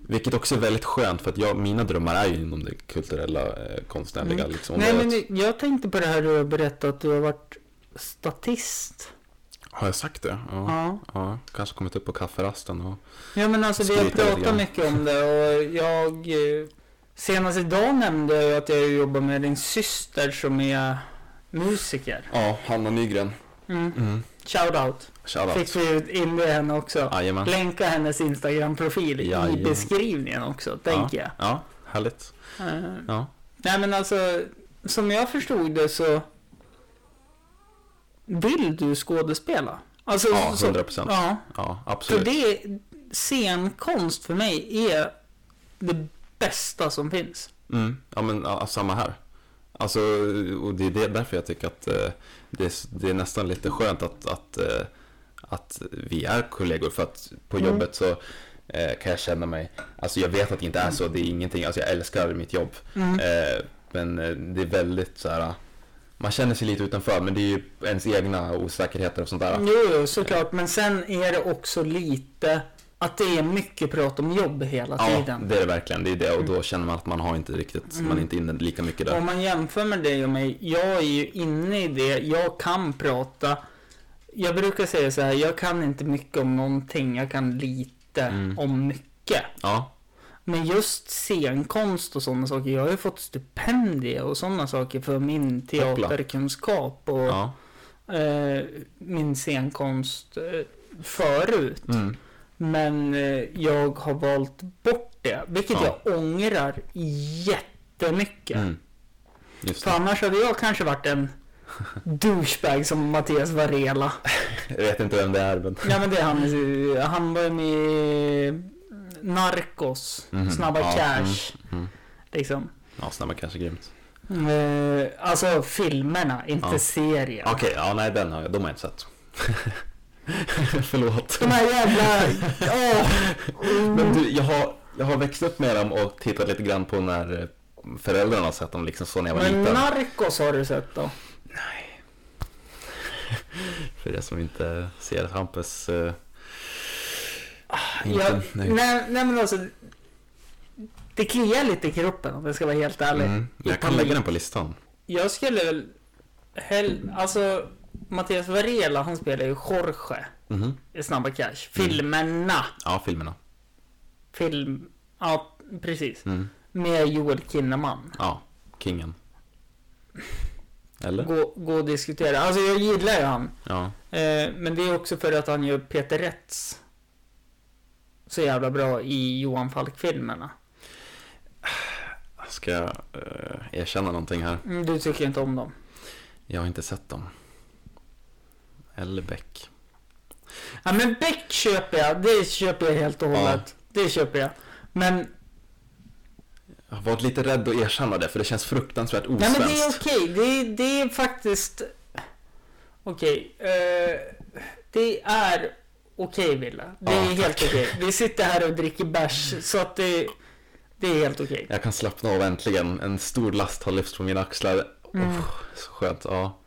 vilket också är väldigt skönt för att jag, mina drömmar är ju inom det kulturella, eh, konstnärliga
Mm.
liksom. Och
Nej,
det-
men jag tänkte på det här du har berättat att du har varit statist.
Har jag sagt det? Ja. ja.
Ja.
kanske kommit upp på kafferasten och...
Ja men alltså vi har
Skryta lite
pratat
grann.
mycket om det och jag eh, Senast idag nämnde jag ju att jag jobbar med din syster som är musiker
Ja, Hanna Nygren.
mm.
Mm.
Shoutout Fick
Shoutout.
vi in det henne också
Jajamän.
Länka hennes Instagram-profil i
Jajamän.
beskrivningen också, tänker jag
Ja, härligt.
Eh,
Ja.
Nej men alltså Som jag förstod det så Vill du skådespela? Alltså,
Ja,
så-
100 procent.
Ja,
Ja,
för
absolut.
det Scenkonst för mig är det bästa som finns
Mm. Ja, men ja, samma här. Alltså, och det är det, därför jag tycker att eh, det, är, s- det är nästan lite skönt att, att, eh, att vi är kollegor. För att på
Mm.
jobbet så, eh, kan jag känna mig. Alltså jag vet att det inte är så, det är ingenting, alltså jag älskar mitt jobb.
Mm.
Eh, men eh, det är väldigt så här. man känner sig lite utanför men det är ju ens egna osäkerheter och sånt där.
Jo, jo, såklart. Men sen är det också lite att det är mycket prat om jobb hela
Ja,
tiden. Mm.
det är det verkligen, det är det och då känner man att man har inte riktigt, man är inte inne lika mycket där.
Om man jämför med dig och mig, jag är ju inne i det, jag kan prata. Jag brukar säga så här, jag kan inte mycket om någonting, jag kan lite
Mm.
om mycket.
Ja,
Men just scenkonst och sådana saker, jag har ju fått stipendier och sådana saker för min
Hoppla.
teaterkunskap och
ja.
eh, min scenkonst eh, förut.
Mm.
Men eh, jag har valt bort det, vilket
Ja.
jag ångrar jättemycket.
Mm. Just
För annars hade jag kanske varit en douchebag som Mattias Varela.
det. Jag vet inte vem det är men.
Ja men det är han, eh, han var ju med i Narcos,
Mhm.
Snabba
Ja,
Cash.
mm, mm.
Liksom.
Ja, snabba kanske grymt.
Eh, alltså filmerna, inte
Ja.
serien.
Okej, ja nej den har jag, de har jag inte sett. Förlåt.
De här jävla... Åh!
Men du, jag har, jag har växt upp med dem och tittat lite grann på när eh, föräldrarna har sett dem liksom så när jag var
Men
liten.
Narcos har du sett då?
För er som inte ser Hampus eh,
Jag,
inte
nej.
nöjd.
Nej, men alltså. Det kliar lite i kroppen om jag ska vara helt ärlig.
Mm. Jag kan lägga den på listan.
Jag skulle väl hell, Alltså Mattias Varela han spelar ju Jorge
Mhm.
i Snabba Cash. Filmerna.
Ja, filmerna.
Film... Ja, precis.
Mm.
Med Joel Kinnaman.
Ja, kingen. Eller?
Gå, gå och diskutera. Alltså jag gillar ju han.
Ja.
Eh, men det är också för att han gör Peter Rätts så jävla bra i Johan Falk-filmerna.
Ska jag eh, erkänna någonting här?
Mm, Du tycker inte om dem.
Jag har inte sett dem. Eller Beck.
Ja men Beck köper jag, det köper jag helt och
Ja.
hållet. Det köper jag. Men,
Jag har varit lite rädd att erkänna det för det känns fruktansvärt
nej
osvenskt.
men det är okej. Det, är- det är faktiskt... Okej. eh, det är okej Wille. Det
Ja,
är helt okej. Vi sitter här och dricker bärs så att det, det är helt okej.
Jag kan slappna av äntligen. En stor last har lyfts från mina axlar.
Mm.
Oh, så skönt. Ja.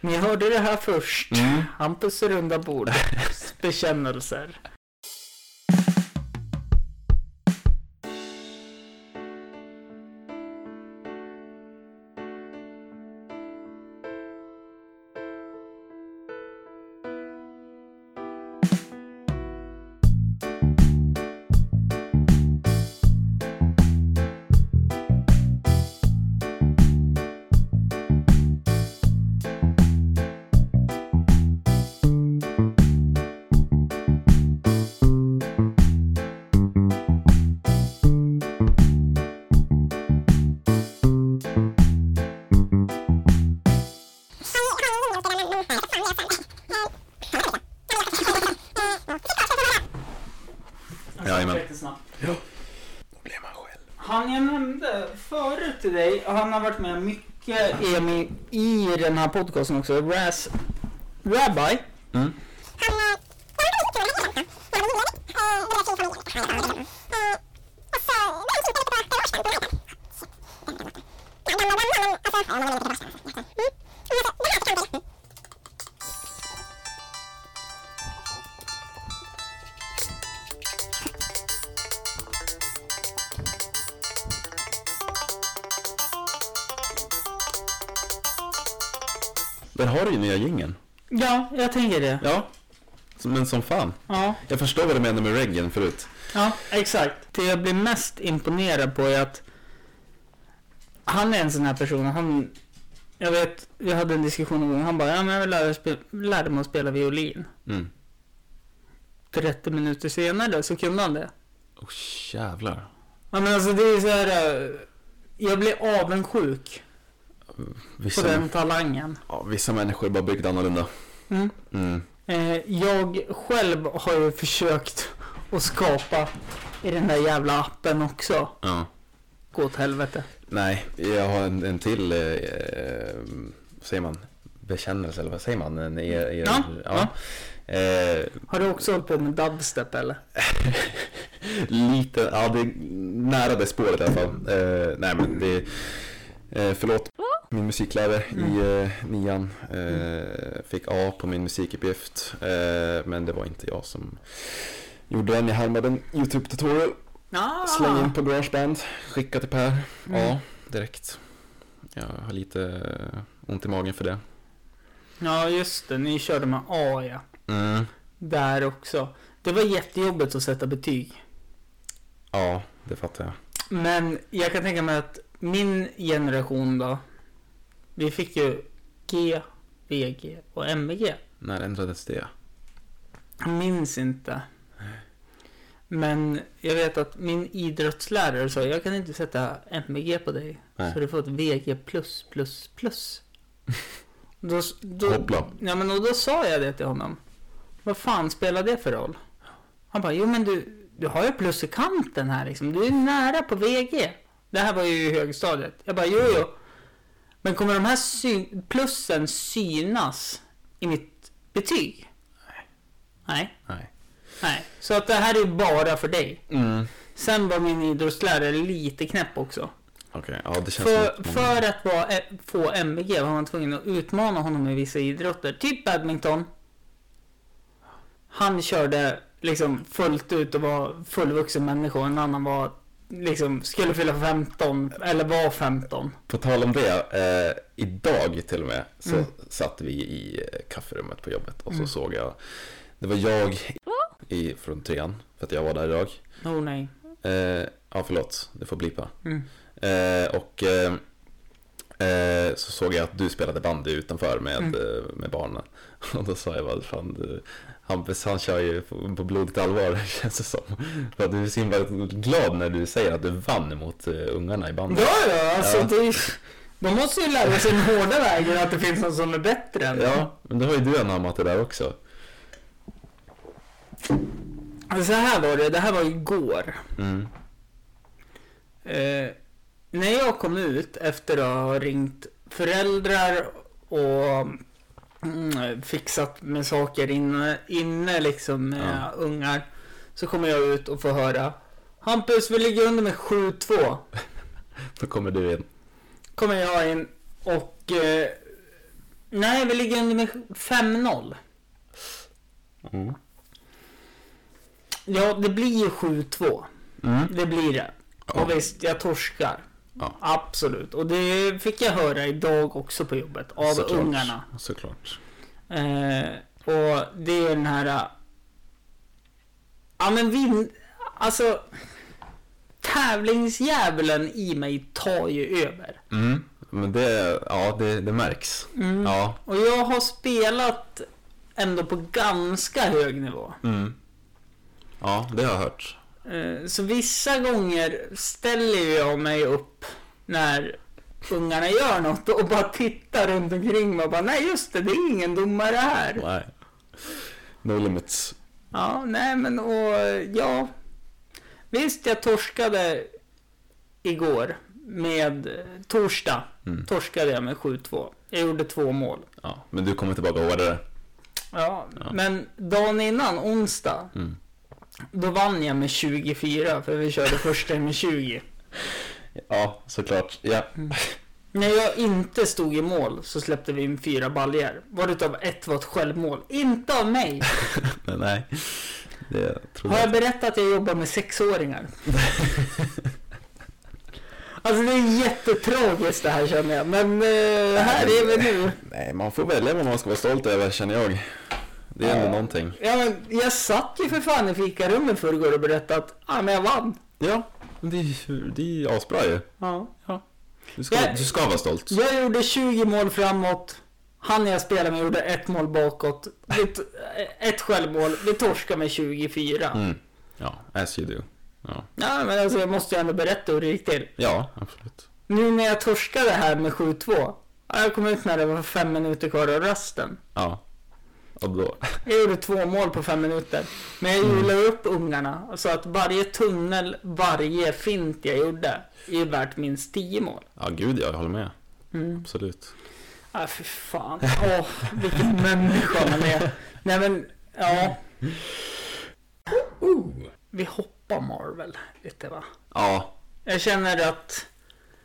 Ni hörde det här först.
Mm.
Hampus runda bord. Bekännelser.
Jajamän.
Jättesnabbt.
Då blir man själv.
Han jag nämnde förut till dig, han har varit med mycket Emil, i den här podcasten också, Raz Rabbi.
Mm. Där har du ju nya jingeln.
Ja, jag tänker det.
Ja. Som- Men som fan.
Ja,
Jag förstår vad du menar med reggen förut.
ja exakt. Det jag blir mest imponerad på är att han är en sån här person, han... Jag vet, vi hade en diskussion en gång, han bara ja, men jag vill lära, mig spe- lära mig att spela violin.
Mm.
30 minuter senare så kunde han det.
Oh, jävlar.
Ja men alltså det är så här... eh, Jag blir avundsjuk på
Vissa,
den talangen.
ja, vissa människor är bara byggda annorlunda.
Mm.
Mm.
Eh, jag själv har ju försökt att skapa i den där jävla appen också.
Ja.
Gå åt helvete.
Nej, jag har en, en till, eh, eh, vad säger man, bekännelse eller vad säger man? En, er, er,
Ja,
Eh,
Har du också hållit på med dubstep eller?
lite, ja det är nära det spåret i alla fall. Eh, nej men det, eh, förlåt min musiklärare
Mm.
i eh, nian eh, fick A på min musikuppgift. Eh, men det var inte jag som gjorde den, jag härmade en YouTube tutorial.
Ah,
Släng in på Garageband, skicka till Per.
Mm.
Ja, direkt. Jag har lite eh, ont i magen för det.
Ja, just det. Ni körde med A, ja.
Mm.
Där också. Det var jättejobbigt att sätta betyg.
Ja, det fattar jag.
Men jag kan tänka mig att min generation då. Vi fick ju G, VG och MVG.
När ändrades det?
Jag minns inte. Men jag vet att min idrottslärare sa jag kan inte sätta MVG på dig.
Nej.
Så du får ett VG++++. plus, plus, plus." Då, då,
Hoppla.
Ja, men och då sa jag det till honom. Vad fan spelar det för roll? Han bara, jo men du, du har ju plus i kanten här liksom. Du är nära på VG. Det här var ju i högstadiet. Jag bara, jo jo. Men kommer de här syn- plussen synas i mitt betyg? Nej.
Nej.
Nej. Så att det här är ju bara för dig.
Mm.
Sen var min idrottslärare lite knäpp också.
Okej, ja det känns som
För,
att man-
för att vara, eh, få MVG var man tvungen att utmana honom i vissa idrotter. Typ badminton. Han körde liksom fullt ut och var fullvuxen människa. En annan var liksom skulle fylla 15 eller var 15.
På tal om det, eh, idag till och med så
Mm.
satt vi i eh, kafferummet på jobbet och så
Mm.
såg jag, det var jag i, från trean, för att jag var där idag.
Oh nej.
Eh, ja, förlåt, det får blipa.
Mm.
Eh, och eh, eh, så såg jag att du spelade bandy utanför med,
Mm.
eh, med barnen. Och då sa jag vad fan du, Hampus han kör ju på, på blodigt allvar känns det som. För att du är så himla glad när du säger att du vann mot eh, ungarna i bandy.
Ja, ja, alltså
Ja.
Det, de måste ju lära sig den hårda vägen att det finns någon som är bättre än dem.
Ja, men då har ju du anammat det där också.
Så här var det, det här var igår.
Mm.
Eh, när jag kom ut efter att ha ringt föräldrar och mm, fixat med saker inne, inne liksom med
Ja.
ungar. Så kommer jag ut och får höra Hampus, vi ligger under med 7-2.
Då kommer du in.
Kommer jag in och eh, Nej, vi ligger under med 5-0.
Mm.
Ja, det blir ju 7-2.
Mm.
Det blir det.
Ja.
Och visst, jag torskar.
Ja.
Absolut. Och det fick jag höra idag också på jobbet. Av
Såklart.
ungarna.
Såklart.
Eh, och det är den här... eh, Ja men vin... Alltså... Tävlingsdjävulen i mig tar ju över.
Mm. Men det, ja, det, det märks.
Mm.
Ja.
Och jag har spelat ändå på ganska hög nivå.
Mm. Ja, det har jag hört.
Eh, Så vissa gånger ställer ju jag mig upp när ungarna gör något och bara tittar runt omkring mig och bara nej just det, det är ingen domare här.
Nej. No limits.
Ja, nej men och ja. Visst, jag torskade igår med torsdag.
Mm.
Torskade jag med 7-2. Jag gjorde två mål.
Ja, men du kommer tillbaka hårdare.
Ja,
Ja.
men dagen innan, onsdag,
Mm.
då vann jag med 24 för vi körde första med 20.
Ja, såklart. Ja.
När jag inte stod i mål så släppte vi in fyra baljer. Var det av ett var ett självmål. Inte av mig!
Men nej. Det tror
Har jag
jag.
berättat att jag jobbar med sexåringar? Alltså det är jättetragiskt det här känner jag. Men eh, här är vi nu.
Nej, man får välja vad man ska vara stolt över, känner jag. Det är ändå
Ja.
någonting.
Ja, men jag satt ju för fan i fikarummet förrgår och berättade att ah, men jag vann.
Ja, men det är ju det är ju asbra ju.
Ja, ja.
Du ska,
Ja.
du ska vara stolt.
Jag gjorde 20 mål framåt. Han jag spelade med gjorde ett mål bakåt. Ett, ett självmål. Vi torskade med 24.
Mm. Ja, as you do. Ja,
Ja, men alltså jag måste ju ändå berätta hur det gick till.
ja absolut.
Nu när jag torskade här med 7-2. ja, Jag kom ut när det var fem minuter kvar av rasten.
Ja. Och då...
Jag gjorde två mål på fem minuter. Men jag hjulade upp ungarna. Så att varje tunnel, varje fint jag gjorde är ju värt minst 10 mål.
Ja, gud ja, jag håller med.
Mm.
Absolut.
Ah, fy fan. Åh, vilken människa man är. Nej men, ja. Vi hoppar droppa Marvel lite va?
Ja,
Jag känner att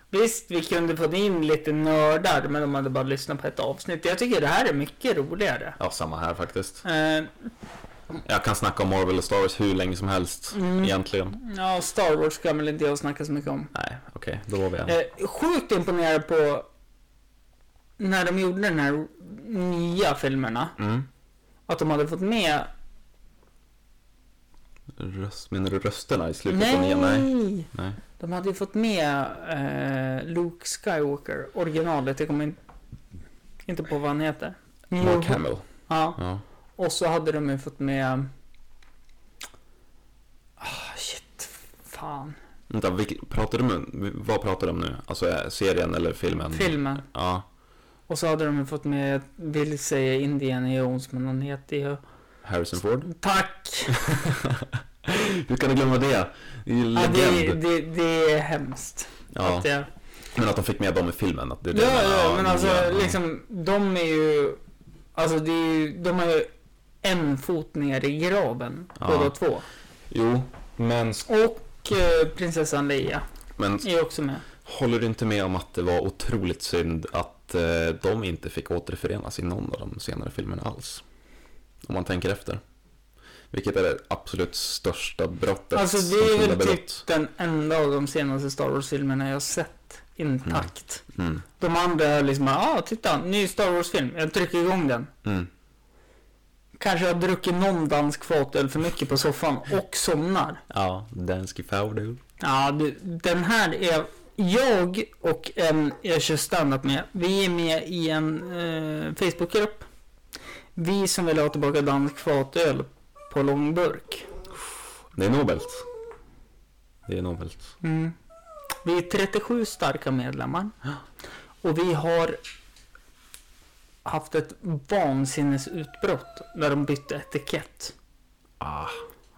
visst, vi kunde få in lite nördar, men de hade bara lyssnat på ett avsnitt. Jag tycker det här är mycket roligare.
ja, samma här faktiskt.
Eh,
Jag kan snacka om Marvel och Star Wars hur länge som helst
Mm.
egentligen.
ja, Star Wars kan väl inte jag snacka så mycket om.
Nej, okej, då var vi en.
Eh, sjukt imponerad på när de gjorde den här nya filmerna.
Mm.
Att de hade fått med...
Röst, menar du rösterna i slutet av
Nej!
nian? Nej. Nej.
De hade ju fått med eh, Luke Skywalker, originalet. Jag kommer in, inte på vad han heter.
Mark Hamill.
Ja.
Ja.
Och så hade de ju fått med... Ah, shit. Fan.
Vänta, vilk, pratar du om, vad pratar du om nu? Alltså eh, serien eller filmen?
Filmen.
Ja,
Och så hade de ju fått med, jag vill säga Indiana Jones, men han heter ju...
Harrison Ford.
Tack!
Hur kan du glömma det? Det är ju
Ja, det,
legend.
det, det är hemskt.
Ja,
Att jag...
men att de fick med dem i filmen. Att det är det
Ja,
jag menar.
ja, men alltså
ja, ja.
liksom, de är ju... Alltså det är ju, de har ju en fot ner i graven,
Ja.
båda två.
Jo, men,
Och eh, prinsessan Leia
men
är också med.
håller du inte med om att det var otroligt synd att eh, de inte fick återförenas i någon av de senare filmerna alls? Om man tänker efter. Vilket är det absolut största brottet
Alltså det
som
är
kunde
väl typ
ha begåtts.
den enda av de senaste Star Wars-filmerna jag har sett intakt.
Mm,
De andra är liksom, ja ah, titta, ny Star Wars-film, jag trycker igång den.
mm.
Kanske jag har druckit någon dansk fatöl för mycket på soffan och somnar.
Ja, Dansky Fowdo.
Ja, du, den här är... Jag och en jag kör standup med, vi är med i en eh, Facebookgrupp. Vi som vill ha tillbaka dansk fatöl på långburk.
Det är nobelt. Det är nobelt.
Mm. Vi är 37 starka medlemmar. Och vi har haft ett vansinnesutbrott när de bytte etikett.
Ah.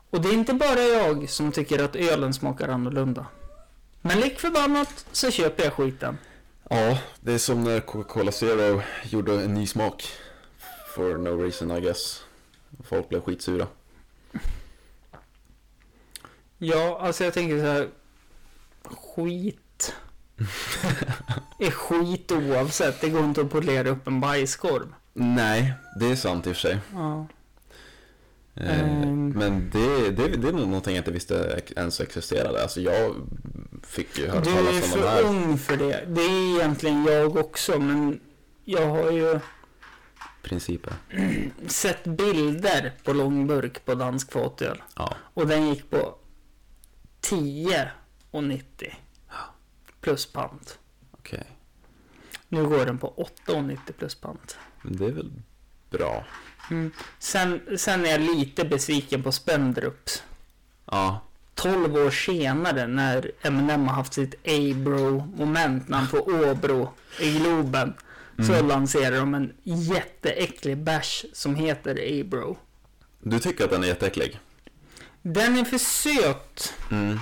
Och det är inte bara jag som tycker att ölen smakar annorlunda. Men lik förbannat så köper jag skiten.
Ja, det är som när Coca-Cola Zero gjorde en ny smak. For no reason I guess. Folk blev skitsura.
Ja, alltså jag tänker så här. Skit. är skit oavsett. Det går inte att polera upp en bajskorv.
Nej, det är sant i och för sig.
Ja.
Eh,
Ehm.
Men det, det, det är nog någonting jag inte visste ens existerade. Alltså jag fick ju höra
Du är
talas om den
för
här.
ung för det. Det är egentligen jag också, men jag har ju
Principen.
sett bilder på långburk på dansk fatöl.
Ja.
Och den gick på 10 och 90 plus pant.
Okej.
Nu går den på 8 och 90 plus pant.
Men det är väl bra.
Sen, sen är jag lite besviken på Spendrups.
Ja.
12 år senare när Eminem har haft sitt A-bro-moment när han får Åbro i Globen.
Mm.
Så lanserar de en jätteäcklig bärs som heter A-bro.
Du tycker att den är jätteäcklig?
Den är för söt.
Mm.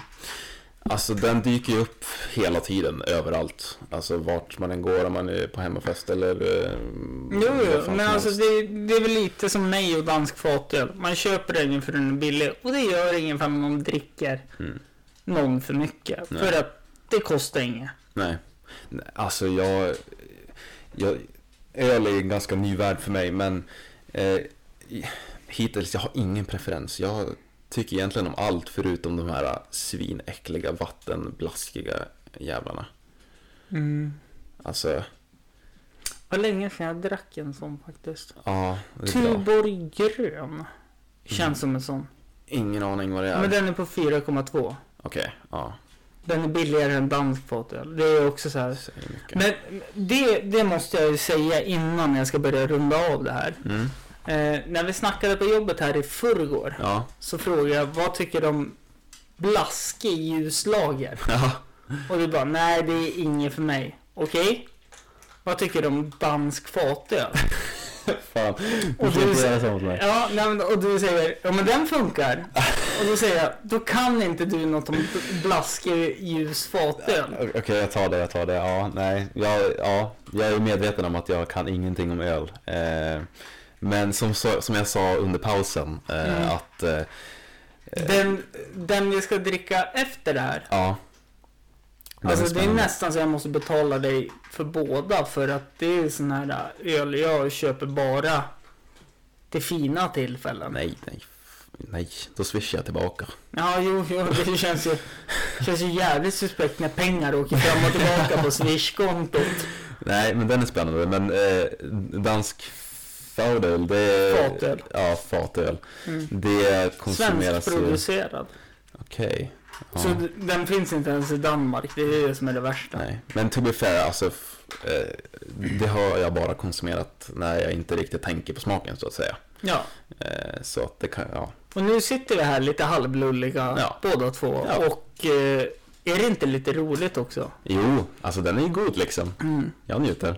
Alltså den dyker ju upp hela tiden, överallt. Alltså vart man än går, om man är på hemmafest eller... eh,
Jo,
vad fan
jo
som
men
helst.
alltså det, det är väl lite som mig och dansk fatöl. Man köper den för den är billig och det gör ingen för man dricker
Mm.
någon för mycket.
Nej.
För att det kostar inget.
Nej. Nej, Alltså jag... jag öl är en ganska ny värld för mig, men... Eh, i- hittills, jag har ingen preferens. Jag tycker egentligen om allt förutom de här svinäckliga, vattenblaskiga jävlarna.
Mm.
Alltså,
Det var länge sedan jag drack en sån faktiskt.
ja. Det är bra. Mm.
Tuborg grön. Känns som en sån.
Ingen aning vad det är.
Men den är på 4,2.
Okej, ja.
Den är billigare än dansk fatöl. Det är också så här.
Säger mycket.
Men det, det måste jag ju säga innan jag ska börja runda av det här.
Mm.
Eh, när vi snackade på jobbet här i förrgår
Ja.
så frågade jag vad tycker du om blaskig ljuslager?
Ja.
Och du bara nej det är inget för mig. Okej? Vad tycker du om dansk fatöl?
Fan.
Och
Du får
du-
inte göra sånt med mig.
Ja, nej, men, och du säger ja men den funkar. Och då säger jag då kan inte du något om blaskig ljus fatöl.
Okej, jag tar det, jag tar det. Ja, nej. Jag, ja, jag är medveten om att jag kan ingenting om öl. Eh, men som, så- som jag sa under pausen, eh,
Mm.
att eh,
Den, den vi ska dricka efter det här.
Ja. Den
Alltså det är
spännande.
nästan så jag måste betala dig för båda för att det är sån här äh, öl jag köper bara till fina tillfällen.
Nej, nej. f- Nej, då swishar jag tillbaka.
Ja, jo, jo det känns ju, känns ju jävligt suspekt när pengar åker fram och tillbaka på Swish-kontot.
Nej, men den är spännande. Men eh, dansk fatöl, det är...
Fatöl.
Ja, fatöl.
Mm.
Det konsumeras ju...
Svenskproducerad.
Okej.
Så
Ja.
d- den finns inte ens i Danmark, det är det som är det värsta.
Nej, men to be fair, alltså, f- eh, det har jag bara konsumerat när jag inte riktigt tänker på smaken så att säga.
Ja,
Eh, så att det kan, ja.
och nu sitter vi här lite halvlulliga
Ja.
båda två.
Ja.
Och eh, är det inte lite roligt också?
Jo, alltså den är ju god liksom.
Mm.
Jag njuter.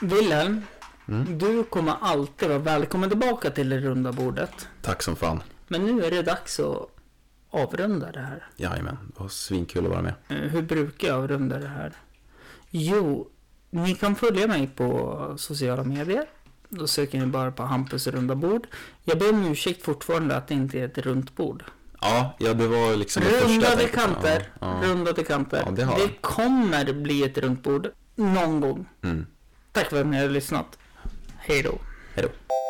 Wilhelm,
Mm.
du kommer alltid vara välkommen tillbaka till det runda bordet.
Tack som fan.
Men nu är det dags att avrunda det här.
Jajamän, det var svinkul att vara med.
Eh, Hur brukar jag avrunda det här? Jo, ni kan följa mig på sociala medier. Då söker ni bara på Hampus runda bord. Jag ber om ursäkt fortfarande att det inte är ett runt bord.
Ja, ja det var liksom det första jag
Rundade
tänkte på.
kanter.
Ja, ja.
Rundade kanter.
Ja, det har
det
jag.
kommer bli ett runt bord någon gång.
Mm.
Tack för att ni har lyssnat. Hej då.
Hej då.